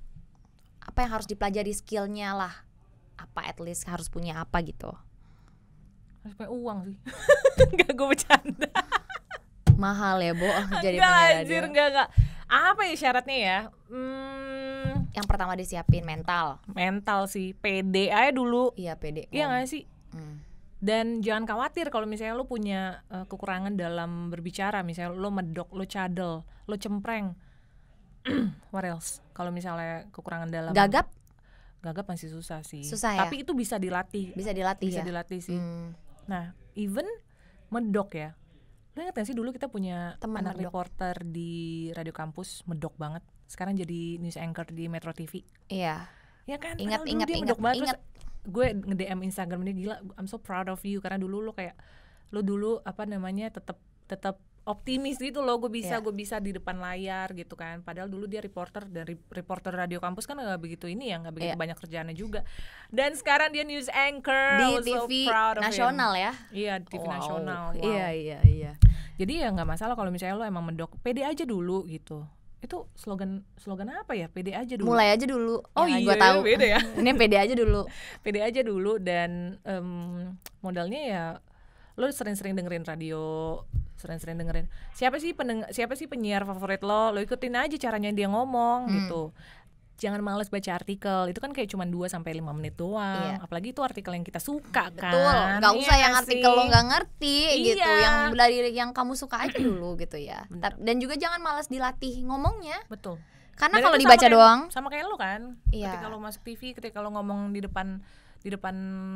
Apa yang harus dipelajari skillnya lah? Apa at least harus punya apa gitu? Harus punya uang sih. enggak gue bercanda. Mahal ya, Bo, jadi enggak penyiar radio. anjir, enggak enggak. Apa ya syaratnya ya? Hmm, Yang pertama disiapin mental. mental sih, PD aja dulu. Iya, pede. Iya enggak ngomong. sih? Hmm. Dan jangan khawatir kalau misalnya lu punya eh, kekurangan dalam berbicara, misalnya lu medok, lu cadel, lu cempreng. What else? Kalau misalnya kekurangan dalam Gagap gagap masih susah sih. Susah ya? Tapi itu bisa dilatih. bisa dilatih bisa ya. dilatih sih. Hmm. Nah, even medok ya. Lo inget gak sih dulu kita punya Teman anak medok. reporter di radio kampus medok banget. Sekarang jadi news anchor di Metro TV. Iya. Ya kan? Padahal Ingat, dulu ingat, dia ingat, medok banget. ingat. Terus gue nge-DM Instagram dia gila, I'm so proud of you karena dulu lo kayak lo dulu apa namanya tetap tetap optimis gitu loh gue bisa Iya. gue bisa di depan layar gitu kan padahal dulu dia reporter dari reporter radio kampus kan nggak begitu ini ya nggak begitu Iya. banyak kerjaannya juga dan sekarang dia news anchor Di I was so TV proud of him. nasional ya. Iya di TV Wow. nasional. Wow. Iya, iya, iya. Jadi ya nggak masalah kalau misalnya lo emang mendok, PD aja dulu gitu. Itu slogan slogan apa ya? PD aja dulu. Mulai aja dulu. Oh iya, Yang gua tahu. beda ya. Ini pede aja dulu. PD aja dulu dan em, modalnya ya lo sering-sering dengerin radio, sering-sering dengerin. Siapa sih pendeng siapa sih penyiar favorit lo? Lo ikutin aja caranya dia ngomong Hmm. gitu. Jangan males baca artikel. Itu kan kayak cuma 2 sampai 5 menit doang. Iya. Apalagi itu artikel yang kita suka kan. Betul, nggak Iya usah yang nggak artikel lo sih? nggak ngerti gitu, Iya. yang dari yang kamu suka aja dulu gitu ya. Bener. Tap- Dan juga jangan malas dilatih ngomongnya, Betul. karena Dan kalau itu sama dibaca kayak- doang, sama kayak lu kan Iya. ketika lu masuk TV ketika lu ngomong di depan di depan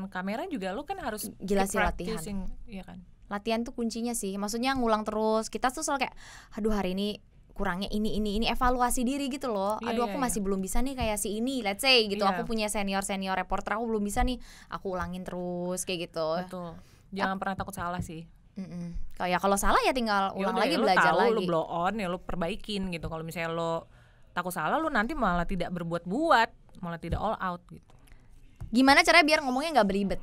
kamera juga lu kan harus keep Gila sih latihan. practicing, iya kan latihan tuh kuncinya sih. Maksudnya ngulang terus. Kita tuh selalu kayak, aduh hari ini kurangnya ini ini ini evaluasi diri gitu loh. Iya, aduh iya, aku iya. masih belum bisa nih kayak si ini, let's say gitu. Iya. Aku punya senior senior reporter aku belum bisa nih. Aku ulangin terus kayak gitu. betul jangan pernah takut salah sih Mm-mm. Kayak kalau salah ya tinggal Ya ulang udah, lagi lu belajar tahu, lagi. lu blow on ya lu perbaikin gitu kalau misalnya lu takut salah lu nanti malah tidak berbuat-buat malah tidak all out gitu Gimana caranya biar ngomongnya nggak belibet?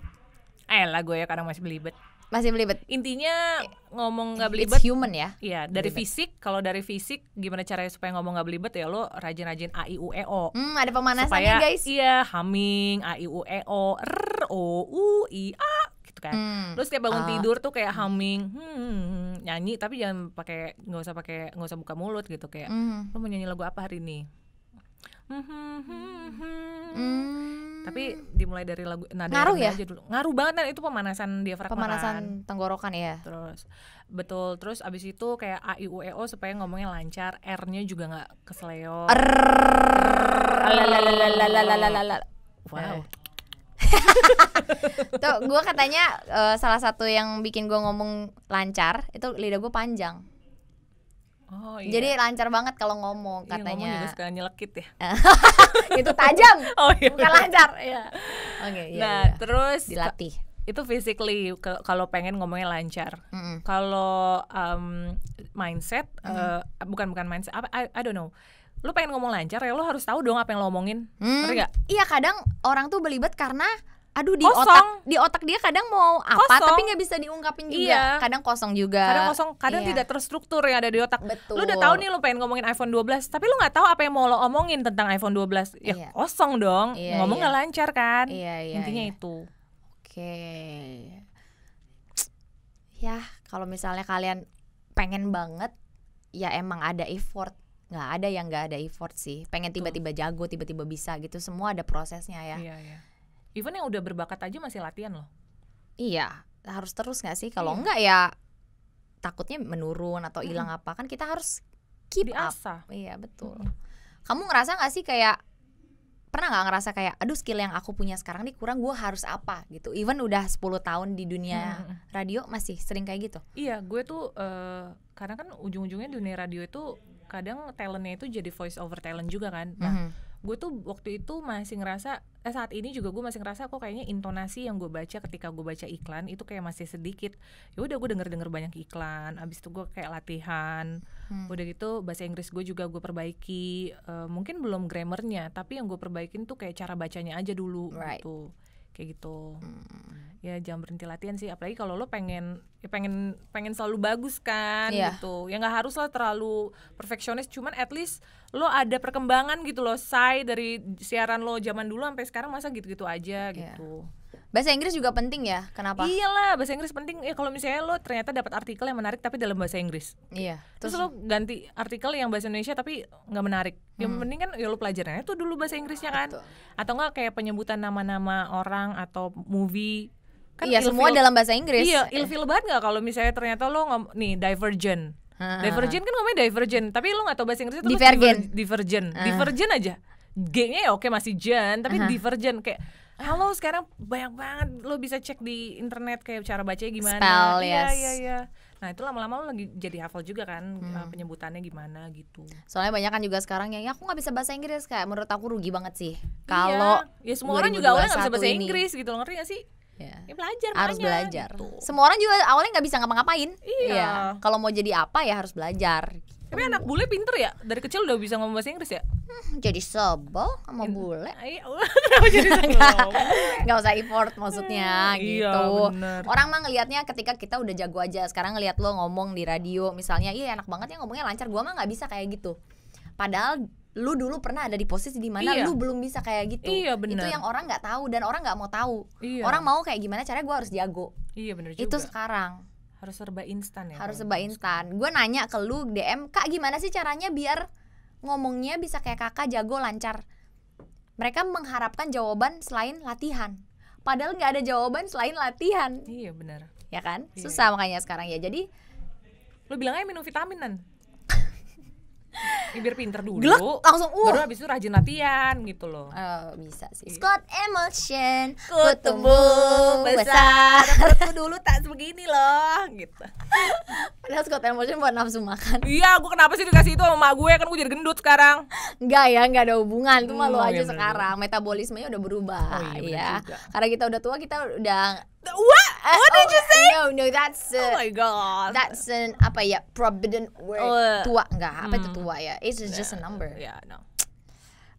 eh lah gue ya kadang masih belibet Masih belibet. intinya ngomong nggak It's belibet human ya. Iya, dari Belibet. fisik, kalau dari fisik gimana caranya supaya ngomong nggak belibet ya lo rajin-rajin A I U E O. Hmm, ada pemanasannya supaya guys. iya humming A I U E O R O U I A gitu kan. Hmm. Terus kayak bangun Ah. tidur tuh kayak humming, hmm, nyanyi tapi jangan pakai nggak usah pakai nggak usah buka mulut gitu kayak. Hmm. Lo mau nyanyi lagu apa hari ini? Hmm, hmm, hmm, hmm. Hmm. Tapi dimulai dari lagu nada Ngaruh rendah ya? aja dulu. Ngaruh banget nah, itu pemanasan diafragma. kan. pemanasan tenggorokan ya. Terus betul terus abis itu kayak A I U E O supaya ngomongnya lancar, R-nya juga nggak kesleo. Lalalalalalalalalala. Wow. Tuh, gue katanya eh, salah satu yang bikin gue ngomong lancar itu lidah gue panjang. Oh iya. Jadi lancar banget kalau ngomong Iya, ngomong juga katanya. suka nyelekit ya. itu tajam, Oh iya. bukan lancar. Iya. Oke, iya. Nah, iya. terus dilatih. itu physically ke- kalau pengen ngomongnya lancar. Mm-mm. Kalau um, mindset eh, Hmm. bukan bukan mindset apa I, I don't know. Lu pengen ngomong lancar ya lu harus tahu dong apa yang lo omongin. Hmm, Ngerti nggak? Iya, kadang orang tuh belibet karena aduh di Kosong. otak di otak dia kadang mau apa Kosong. tapi nggak bisa diungkapin Iya. juga. Kadang kosong juga. Kadang kosong, kadang Iya. tidak terstruktur yang ada di otak. Betul. Lu udah tahu nih lu pengen ngomongin iPhone 12, tapi lu nggak tahu apa yang mau lo omongin tentang iPhone 12. Ya Iya. kosong dong. Iya, Ngomong iya. nggak lancar kan? Iya, iya. Intinya iya. itu. Oke. Ya, kalau misalnya kalian pengen banget, ya emang ada effort. Nggak ada yang nggak ada effort sih. Pengen Betul. tiba-tiba jago, tiba-tiba bisa gitu. Semua ada prosesnya ya. Iya, iya. Even yang udah berbakat aja masih latihan loh. Iya, harus terus nggak sih? Kalau Iya. nggak ya takutnya menurun atau hilang apa kan kita harus keep up. Diasah. Iya betul. Mm-mm. Kamu ngerasa nggak sih kayak pernah nggak ngerasa kayak aduh skill yang aku punya sekarang nih kurang gue harus apa gitu even udah 10 tahun di dunia Mm-mm. radio masih sering kayak gitu Iya, gue tuh eh, karena kan ujung-ujungnya dunia radio itu kadang talentnya itu jadi voice over talent juga kan. Nah, Mhm. gue tuh waktu itu masih ngerasa eh saat ini juga gue masih ngerasa kok kayaknya intonasi yang gue baca ketika gue baca iklan itu kayak masih sedikit. Ya udah gue denger-denger banyak iklan, abis itu gue kayak latihan. Hmm. Udah gitu bahasa Inggris gue juga gue perbaiki. Eh, mungkin belum grammarnya, tapi yang gue perbaikin tuh kayak cara bacanya aja dulu Right. gitu. Kayak gitu. Hmm. ya jangan berhenti latihan sih apalagi kalau lo pengen ya pengen pengen selalu bagus kan Iya. gitu ya nggak harus lah terlalu perfeksionis cuman at least lo ada perkembangan gitu loh say dari siaran lo zaman dulu sampai sekarang masa gitu-gitu aja Iya. gitu bahasa Inggris juga penting ya Iya. kenapa iyalah bahasa Inggris penting ya kalau misalnya lo ternyata dapat artikel yang menarik tapi dalam bahasa Inggris iya terus, lo ganti artikel yang bahasa Indonesia tapi nggak menarik yang penting kan ya lo pelajarannya tuh dulu bahasa Inggrisnya kan Hmm. Betul. atau nggak kayak penyebutan nama-nama orang atau movie kan iya semua ilfil- dalam bahasa Inggris Iya, ilfil banget nggak kalau misalnya ternyata lo ngom nih divergent. Ah. Divergent kan ngomongnya divergent, tapi lo nggak tahu bahasa Inggrisnya terus Divergent. diver- divergent. Divergent aja. G-nya ya oke masih jen, tapi divergent kayak halo sekarang banyak banget lo bisa cek di internet kayak cara bacanya gimana. Spell, iya, yes. iya, iya. Nah, itu lama-lama lo lagi jadi hafal juga kan Hmm. eh, penyebutannya gimana gitu. soalnya banyak kan juga sekarang yang "Ya, aku nggak bisa bahasa Inggris kayak menurut aku rugi banget sih kalau Iya. ya semua orang juga awalnya nggak bisa 2021 bahasa ini. Inggris gitu lo ngerti gak sih? Iya. Ya belajar harus makanya, belajar. gitu. Semua orang juga awalnya nggak bisa ngapa-ngapain. Iya. Kalau mau jadi apa ya harus belajar. Tapi anak bule pinter ya, dari kecil udah bisa ngomong bahasa Inggris ya? Hmm, Jadi sebel sama Iya. bule. Ay, kenapa jadi sombong? nggak usah effort maksudnya Hmm, iya, gitu. bener. Orang mah ngelihatnya ketika kita udah jago aja. Sekarang ngelihat lo ngomong di radio misalnya, iya enak banget ya ngomongnya lancar. Gua mah nggak bisa kayak gitu. Padahal lu dulu pernah ada di posisi di mana Iya. lu belum bisa kayak gitu. Iya, bener. Itu yang orang nggak tahu dan orang nggak mau tahu. Iya. Orang mau kayak gimana caranya gua harus jago. Iya bener juga. Itu sekarang. harus serba instan ya. harus kalau serba ngomong instan. Gue nanya ke lu DM, "Kak, gimana sih caranya biar ngomongnya bisa kayak Kakak jago lancar?" Mereka mengharapkan jawaban selain latihan. Padahal nggak ada jawaban selain latihan, sekarang. Iya bener. ya kan? Iya. Susah makanya sekarang ya. Jadi, Lu bilang aja minum vitaminan. Ya, biar pinter dulu. glek langsung Baru uh. abis itu rajin latihan gitu loh. Eh, bisa sih. Iya. Scott Emulsion Ku tumbuh besar. Perutku dulu tak sebegini loh gitu. Padahal Scott Emulsion buat nafsu makan. Iya, gue kenapa sih dikasih itu sama emak gue kan gue jadi gendut sekarang. Enggak ya, enggak ada hubungan. Itu mah lu Hmm, iya, aja bener-bener. sekarang metabolismenya udah berubah Oh, iya, bener ya. juga. Karena kita udah tua, kita udah What? Eh, What did oh, you say? No, no, that's uh, Oh my god. that's an apa ya provident word Oh, tua enggak apa itu hmm. tua ya it's just a number Ya, no.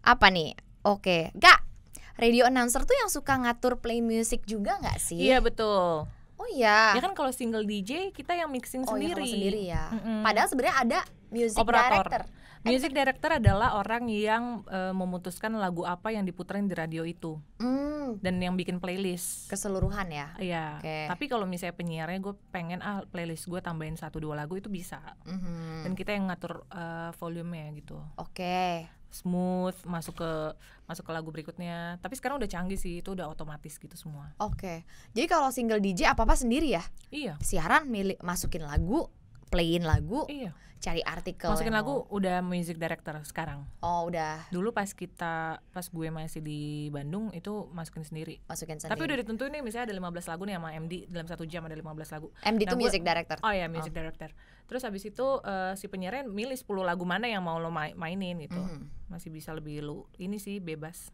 apa nih Oke, Kak. Radio announcer tuh yang suka ngatur play music juga nggak sih? Iya betul. Oh iya. Ya kan kalau single DJ kita yang mixing oh iya sendiri. kalau sendiri ya. Mm-mm. Padahal sebenarnya ada music Operator. director. Music director adalah orang yang eh, memutuskan lagu apa yang diputerin di radio itu Hmm, dan yang bikin playlist. keseluruhan ya. Iya. Oke. Tapi kalau misalnya penyiarnya gue pengen ah playlist gue tambahin satu dua lagu itu bisa. Mhm. Dan kita yang ngatur eh, volumenya gitu. Oke. Smooth masuk ke masuk ke lagu berikutnya. Tapi sekarang udah canggih sih itu udah otomatis gitu semua. Oke. Jadi kalau single DJ apa-apa sendiri ya? Iya. Siaran milih masukin lagu, playin lagu, Iya. cari artikel. Masukin yang lagu udah music director sekarang. mau- Oh, udah Dulu pas kita pas gue masih di Bandung itu masukin sendiri. masukin sendiri. Tapi udah ditentuin nih misalnya ada 15 lagu nih sama MD dalam satu jam ada 15 lagu. MD Nah, tuh gue- music director. Oh ya music director. Terus habis itu eh, si penyiarnya milih 10 lagu mana yang mau lo ma- mainin gitu. Mhm. Masih bisa lebih lu ini sih bebas.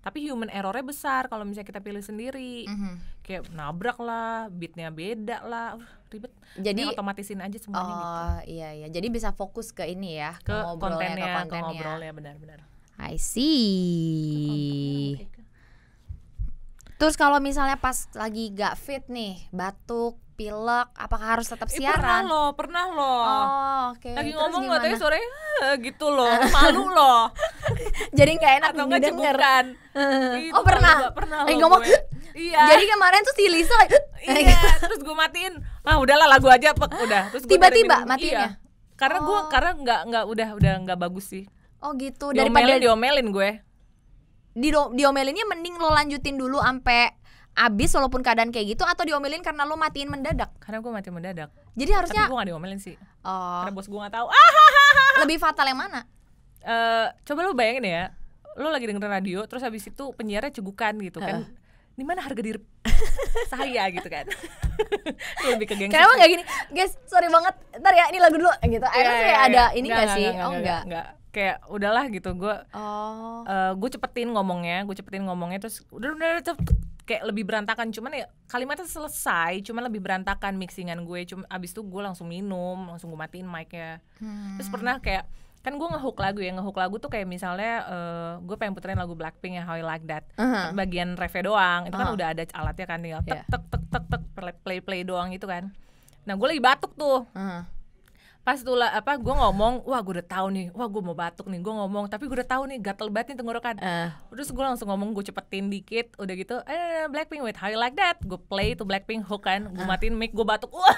Tapi human errornya besar kalau misalnya kita pilih sendiri. Mhm. Kayak nabrak lah, beatnya beda lah, Uh, ribet. Jadi Ini otomatisin aja semuanya gitu. Oh iya iya, jadi bisa fokus ke ini ya Ke ngobrolnya, kontennya, ke ke kontennya. ngobrolnya benar-benar. I see. Terus kalau misalnya pas lagi gak fit nih, batuk, pilek, apakah harus tetap Eh, pernah siaran? lo, pernah lo. Oh, oke. Lagi Terus ngomong nggak gimana? tadi sore gitu loh, malu loh. Jadi gak enak Atau nggak didengar. cebukan. Eh, Itu oh, pernah. juga pernah Lagi lo ngomong. gue. Iya. Jadi kemarin tuh si Lisa eh, lagi- iya, terus gue matiin. Ah, udahlah lagu aja pek udah. Terus gue Tiba-tiba cari minum. matiinnya? Iya. Karena gue Oh. karena nggak nggak udah udah nggak bagus sih. Oh gitu, Diomelin daripada diomelin gue. di diomelinnya mending lo lanjutin dulu sampai abis walaupun keadaan kayak gitu atau diomelin karena lo matiin mendadak. Karena gue mati mendadak. Jadi harusnya Tapi gue gak diomelin sih. oh, Karena bos gue gak tahu. Ah, lebih fatal yang mana? Eh, coba lo bayangin ya. Lo lagi dengerin radio, terus habis itu penyiarnya cegukan gitu kan. Di mana harga diri saya gitu kan. Itu lebih ke gengsi. Kenapa nggak gini, guys? Sorry banget. Ntar ya, ini lagu dulu Iya, gitu. Akhirnya iya, kayak iya. ada ini Nggak, nggak sih? nggak, oh nggak, enggak. nggak. Kayak udahlah gitu gue Oh. gue cepetin ngomongnya, gue cepetin ngomongnya terus udah udah, udah, udah, kayak lebih berantakan cuman ya kalimatnya selesai cuman lebih berantakan mixingan gue cuma abis itu gue langsung minum langsung gue matiin mic-nya terus pernah kayak kan gue ngehook lagu ya ngehook lagu tuh kayak misalnya gue pengen puterin lagu Blackpink yang How You Like That Aha. bagian refnya doang itu kan Aha. udah ada alatnya kan tinggal tek Uh-huh. Iya. tek tek tek tek play- play play doang itu kan nah gue lagi batuk tuh Heeh. pas tuh lah, apa gue ngomong wah gue udah tahu nih wah gue mau batuk nih gue ngomong tapi gue udah tahu nih gatel banget nih tenggorokan Eh. terus gue langsung ngomong gue cepetin dikit udah gitu eh Blackpink with how you like that gue play tuh Blackpink hook kan gue matiin mic gue batuk wah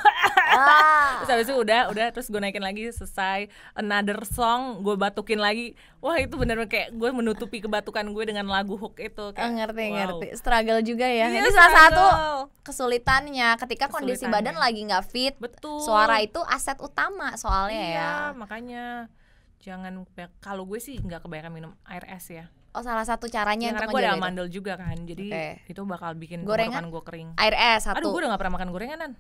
Ah. terus habis itu udah udah terus gue naikin lagi selesai another song gue batukin lagi wah itu bener kayak gue menutupi kebatukan gue dengan lagu hook itu kayak, Ah, ngerti wow. ngerti struggle juga ya Iya, ini salah satu struggle. kesulitannya ketika kondisi Kesulitannya. badan lagi nggak fit betul suara ya. itu aset utama soalnya iya makanya jangan kalau gue sih nggak kebanyakan minum air es ya ya oh salah satu Ya, caranya karena untuk gue ada ngejaga itu. amandel juga kan, jadi Oke. itu bakal bikin Gorengan? tenggorokan gue kering. air es satu Aduh, gue udah gak pernah makan Eh, gorenganan.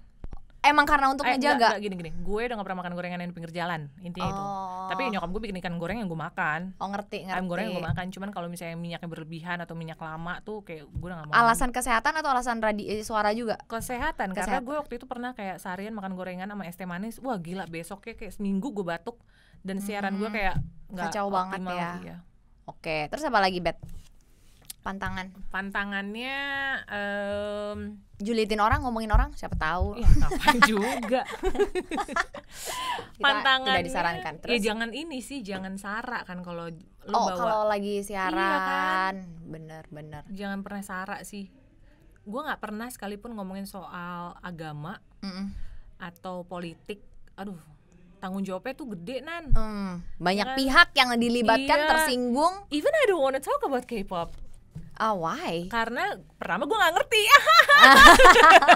emang karena untuk ngejaga gini-gini. Gue udah gak pernah makan gorengan yang di pinggir jalan, intinya itu. Oh. gitu. Tapi nyokap gue bikin ikan goreng yang gue makan. oh ngerti ngerti Ayam goreng yang gue makan, cuman kalau misalnya minyaknya berlebihan atau minyak lama tuh kayak gue udah gak mau. alasan kesehatan atau alasan radi eh, suara juga kesehatan, karena Kesehatan. gue waktu itu pernah kayak seharian makan gorengan sama es teh manis. Wah, gila besoknya kayak seminggu gue batuk dan siaran gue kayak nggak Hmm. Kacau banget optimal, ya. iya. oke terus apa lagi bet pantangan Pantangannya em, julitin orang ngomongin orang siapa tahu Ih, Iya, ngapain juga Kita pantangan tidak disarankan terus ya jangan ini sih jangan sara kan kalau lu oh bawa Iya, kan? kalau lagi siaran bener bener jangan pernah sara sih gue nggak pernah sekalipun ngomongin soal agama Mm-mm. atau politik aduh tanggung jawabnya tuh gede nan Hmm, Kan- banyak pihak yang dilibatkan Iya. tersinggung even I don't wanna talk about K-pop ah Kan why karena pertama gue nggak ngerti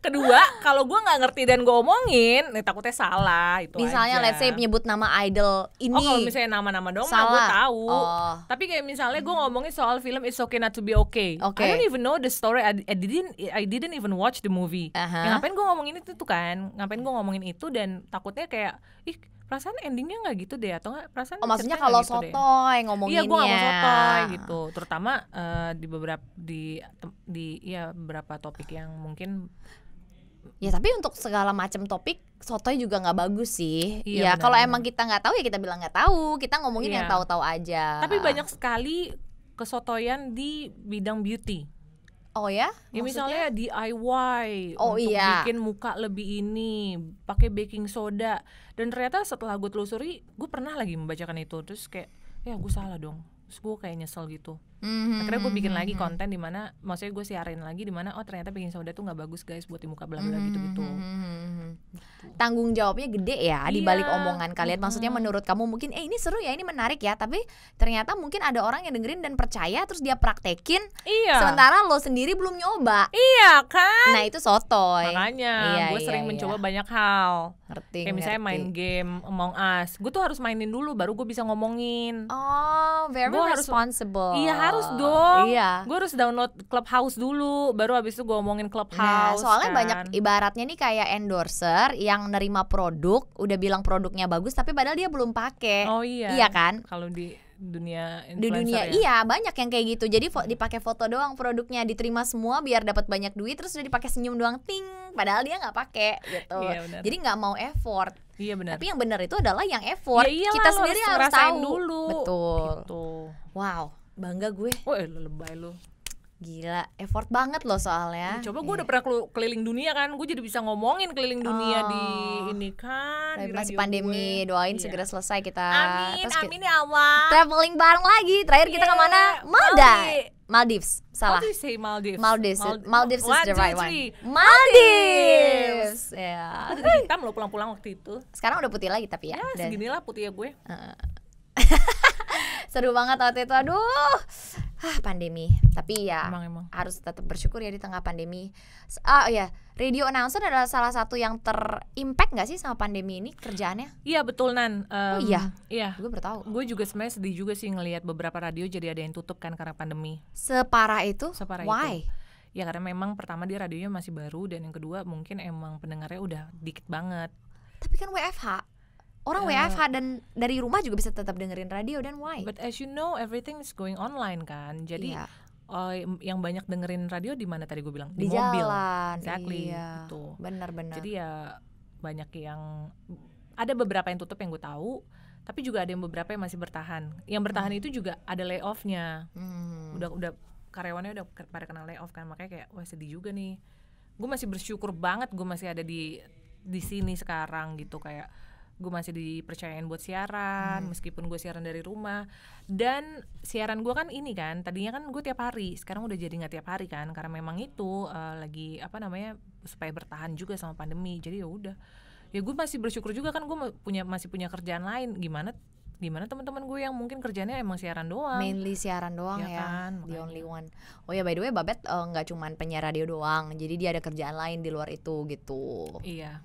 kedua kalau gue nggak ngerti dan gue omongin eh, takutnya salah itu misalnya aja. let's say menyebut nama idol ini Oh kalau misalnya nama-nama dong mah gue Salah. tahu. Oh. Tapi kayak misalnya gue ngomongin soal film It's Okay Not to Be Okay. Oke. I don't even know the story. I, I didn't I didn't even watch the movie. Aha. Ya, ngapain gue ngomongin itu tuh kan? Ngapain gue ngomongin itu dan takutnya kayak ih perasaan endingnya nggak gitu deh atau nggak perasaan oh maksudnya ceritanya kalau nggak gitu deh. sotoy ngomonginnya Iya, gue nggak mau sotoy gitu, terutama eh, di beberapa di tem- di ya beberapa topik yang mungkin ya tapi untuk segala macam topik sotoy juga nggak bagus sih Iya, ya kalau benar-benar. emang kita nggak tahu ya kita bilang nggak tahu kita ngomongin Iya. yang tahu-tahu aja Tapi banyak sekali kesotoyan di bidang beauty. Oh ya? Ya Maksudnya? misalnya DIY Oh, untuk iya. bikin muka lebih ini pakai baking soda dan ternyata setelah gue telusuri gue pernah lagi membacakan itu terus kayak ya gue salah dong terus gue kayak nyesel gitu Mhm, akhirnya gue bikin lagi mhm, konten di mana maksudnya gue siarin lagi di mana oh ternyata baking soda tuh nggak bagus guys buat di muka bla bla mhm, gitu gitu mhm, mhm, mhm. Tanggung jawabnya gede ya di balik Iya, omongan kalian. Maksudnya mhm. menurut kamu mungkin eh ini seru ya, ini menarik ya, tapi ternyata mungkin ada orang yang dengerin dan percaya terus dia praktekin iya sementara lo sendiri belum nyoba. iya kan Nah, itu sotoy. makanya Iya, gue iya, sering iya. mencoba banyak hal Ngerti, kayak misalnya ngerti. main game Among Us gue tuh harus mainin dulu baru gue bisa ngomongin Oh, very Gua harus- responsible. Iya harus dong. Iya. Gue harus download Clubhouse dulu, baru abis itu gue omongin Nah, Clubhouse. soalnya kan. banyak ibaratnya nih kayak endorser yang nerima produk, udah bilang produknya bagus tapi padahal dia belum pakai. Oh iya. Iya kan? Kalau di dunia Di influencer dunia ya. iya banyak yang kayak gitu. Jadi fo- dipakai foto doang produknya diterima semua biar dapat banyak duit terus udah dipakai senyum doang ting padahal dia nggak pakai gitu. Iya, benar. Jadi nggak mau effort. Iya benar. Tapi yang benar itu adalah yang effort. Ya iyalah, Kita lu sendiri harus, ngerasain tahu. dulu. Betul. Gitu. Wow, bangga gue. Wah, lu lebay lu. Gila, effort banget loh Iya, soalnya. Iya. Coba gue udah pernah kelu- keliling dunia kan, gue jadi bisa ngomongin keliling dunia di Oh. ini kan. di Tapi masih radio pandemi, gue. doain Iya. segera selesai kita. Amin, Terus ki- amin ya Iya, Allah. traveling bareng lagi. Terakhir kita Yeah, kemana? Maldives. Maldives. How Salah. do you say Maldives? Maldives. Mal- Maldives is One, the two, right one. three. Maldives. Ya. Aku jadi hitam loh pulang-pulang waktu itu. Sekarang udah putih lagi tapi ya. Ya, Dan Ah. seginilah putih ya gue. seru banget waktu itu. Aduh. Ah, pandemi. Tapi ya Emang emang. harus tetap bersyukur ya di tengah pandemi. S- Ah, oh ya, radio announcer adalah salah satu yang terimpact nggak sih sama pandemi ini kerjaannya? Iya betul Nan. Oh, Em, iya? Iya. Gue bertahu. Gue juga sebenarnya sedih juga sih ngelihat beberapa radio jadi ada yang tutup kan karena pandemi. Separah itu? Separah itu. Why? Ya karena memang pertama dia radionya masih baru dan yang kedua mungkin emang pendengarnya udah dikit banget. Tapi kan WFH. Orang Ya. WFH dan dari rumah juga bisa tetap dengerin radio dan why? But as you know everything is going online kan. Jadi Iya. eh, yang banyak dengerin radio di mana tadi gue bilang di, di, mobil. jalan. Exactly, Iya. gitu. Benar-benar. Jadi ya banyak yang ada beberapa yang tutup yang gue tahu, tapi juga ada yang beberapa yang masih bertahan. Yang bertahan itu juga ada layoffnya. Hmm. udah udah karyawannya udah ke- pada kena layoff kan makanya kayak wah sedih juga nih gue masih bersyukur banget gue masih ada di di sini sekarang gitu kayak gue masih dipercayain buat siaran meskipun gue siaran dari rumah dan siaran gue kan ini kan tadinya kan gue tiap hari sekarang udah jadi nggak tiap hari kan karena memang itu eh, lagi apa namanya supaya bertahan juga sama pandemi jadi ya udah ya gue masih bersyukur juga kan gue ma- punya masih punya kerjaan lain gimana gimana teman-teman gue yang mungkin kerjanya emang siaran doang mainly siaran doang Iya ya. kan, the makanya. only one. Oh ya by the way Babet eh, nggak cuman penyiar radio doang. Jadi dia ada kerjaan lain di luar itu gitu. iya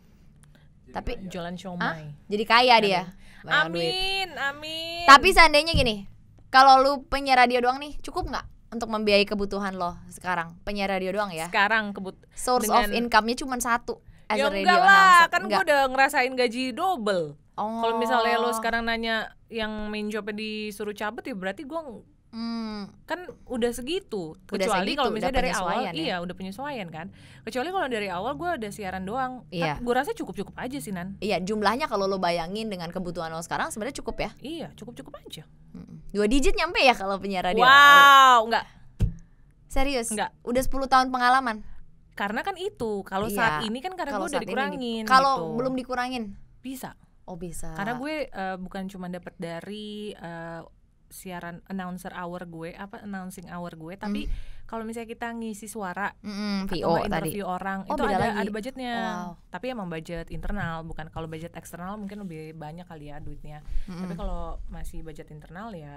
Tapi jualan siomay. jadi kaya dia. Banyak duit. Iya Amin, amin. Tapi seandainya gini, kalau lu penyiar radio doang nih cukup nggak untuk membiayai kebutuhan lo sekarang? Penyiar radio doang ya. sekarang kebut Source of dengan- income-nya cuma satu as ya a radio enggak lah, announcer. kan gue Enggak. udah ngerasain gaji double. Oh. Kalau misalnya lo sekarang nanya yang main jobnya disuruh cabut ya berarti gua ng- Hmm. kan udah segitu. Udah Kecuali segitu, kalau udah misalnya dari penyesuaian awal, ya. iya udah penyesuaian kan. Kecuali kalau dari awal gua ada siaran doang. Iya. Gue rasa cukup-cukup aja sih Nan. Iya jumlahnya kalau lo bayangin dengan kebutuhan lo sekarang sebenarnya cukup ya Iya, cukup-cukup aja. Mm-mm. Dua digit nyampe ya kalau penyiar radio Wow, enggak. Serius? Enggak. Udah 10 tahun pengalaman Karena kan itu, kalau Iya, saat ini kan karena Kalau gue udah saat ini di- dikurangin. Kalau gitu. belum dikurangin bisa. Oh bisa Karena gue eh, bukan cuma dapat dari eh, siaran announcer hour gue, apa announcing hour gue, tapi kalau misalnya kita ngisi suara Mm-mm, atau VO nggak Hmm. tadi interview orang Oh, itu beda ada lagi. ada budgetnya. Wow. Tapi emang budget internal, bukan kalau budget eksternal mungkin lebih banyak kali ya duitnya. Mm-mm. Tapi kalau masih budget internal ya Iya,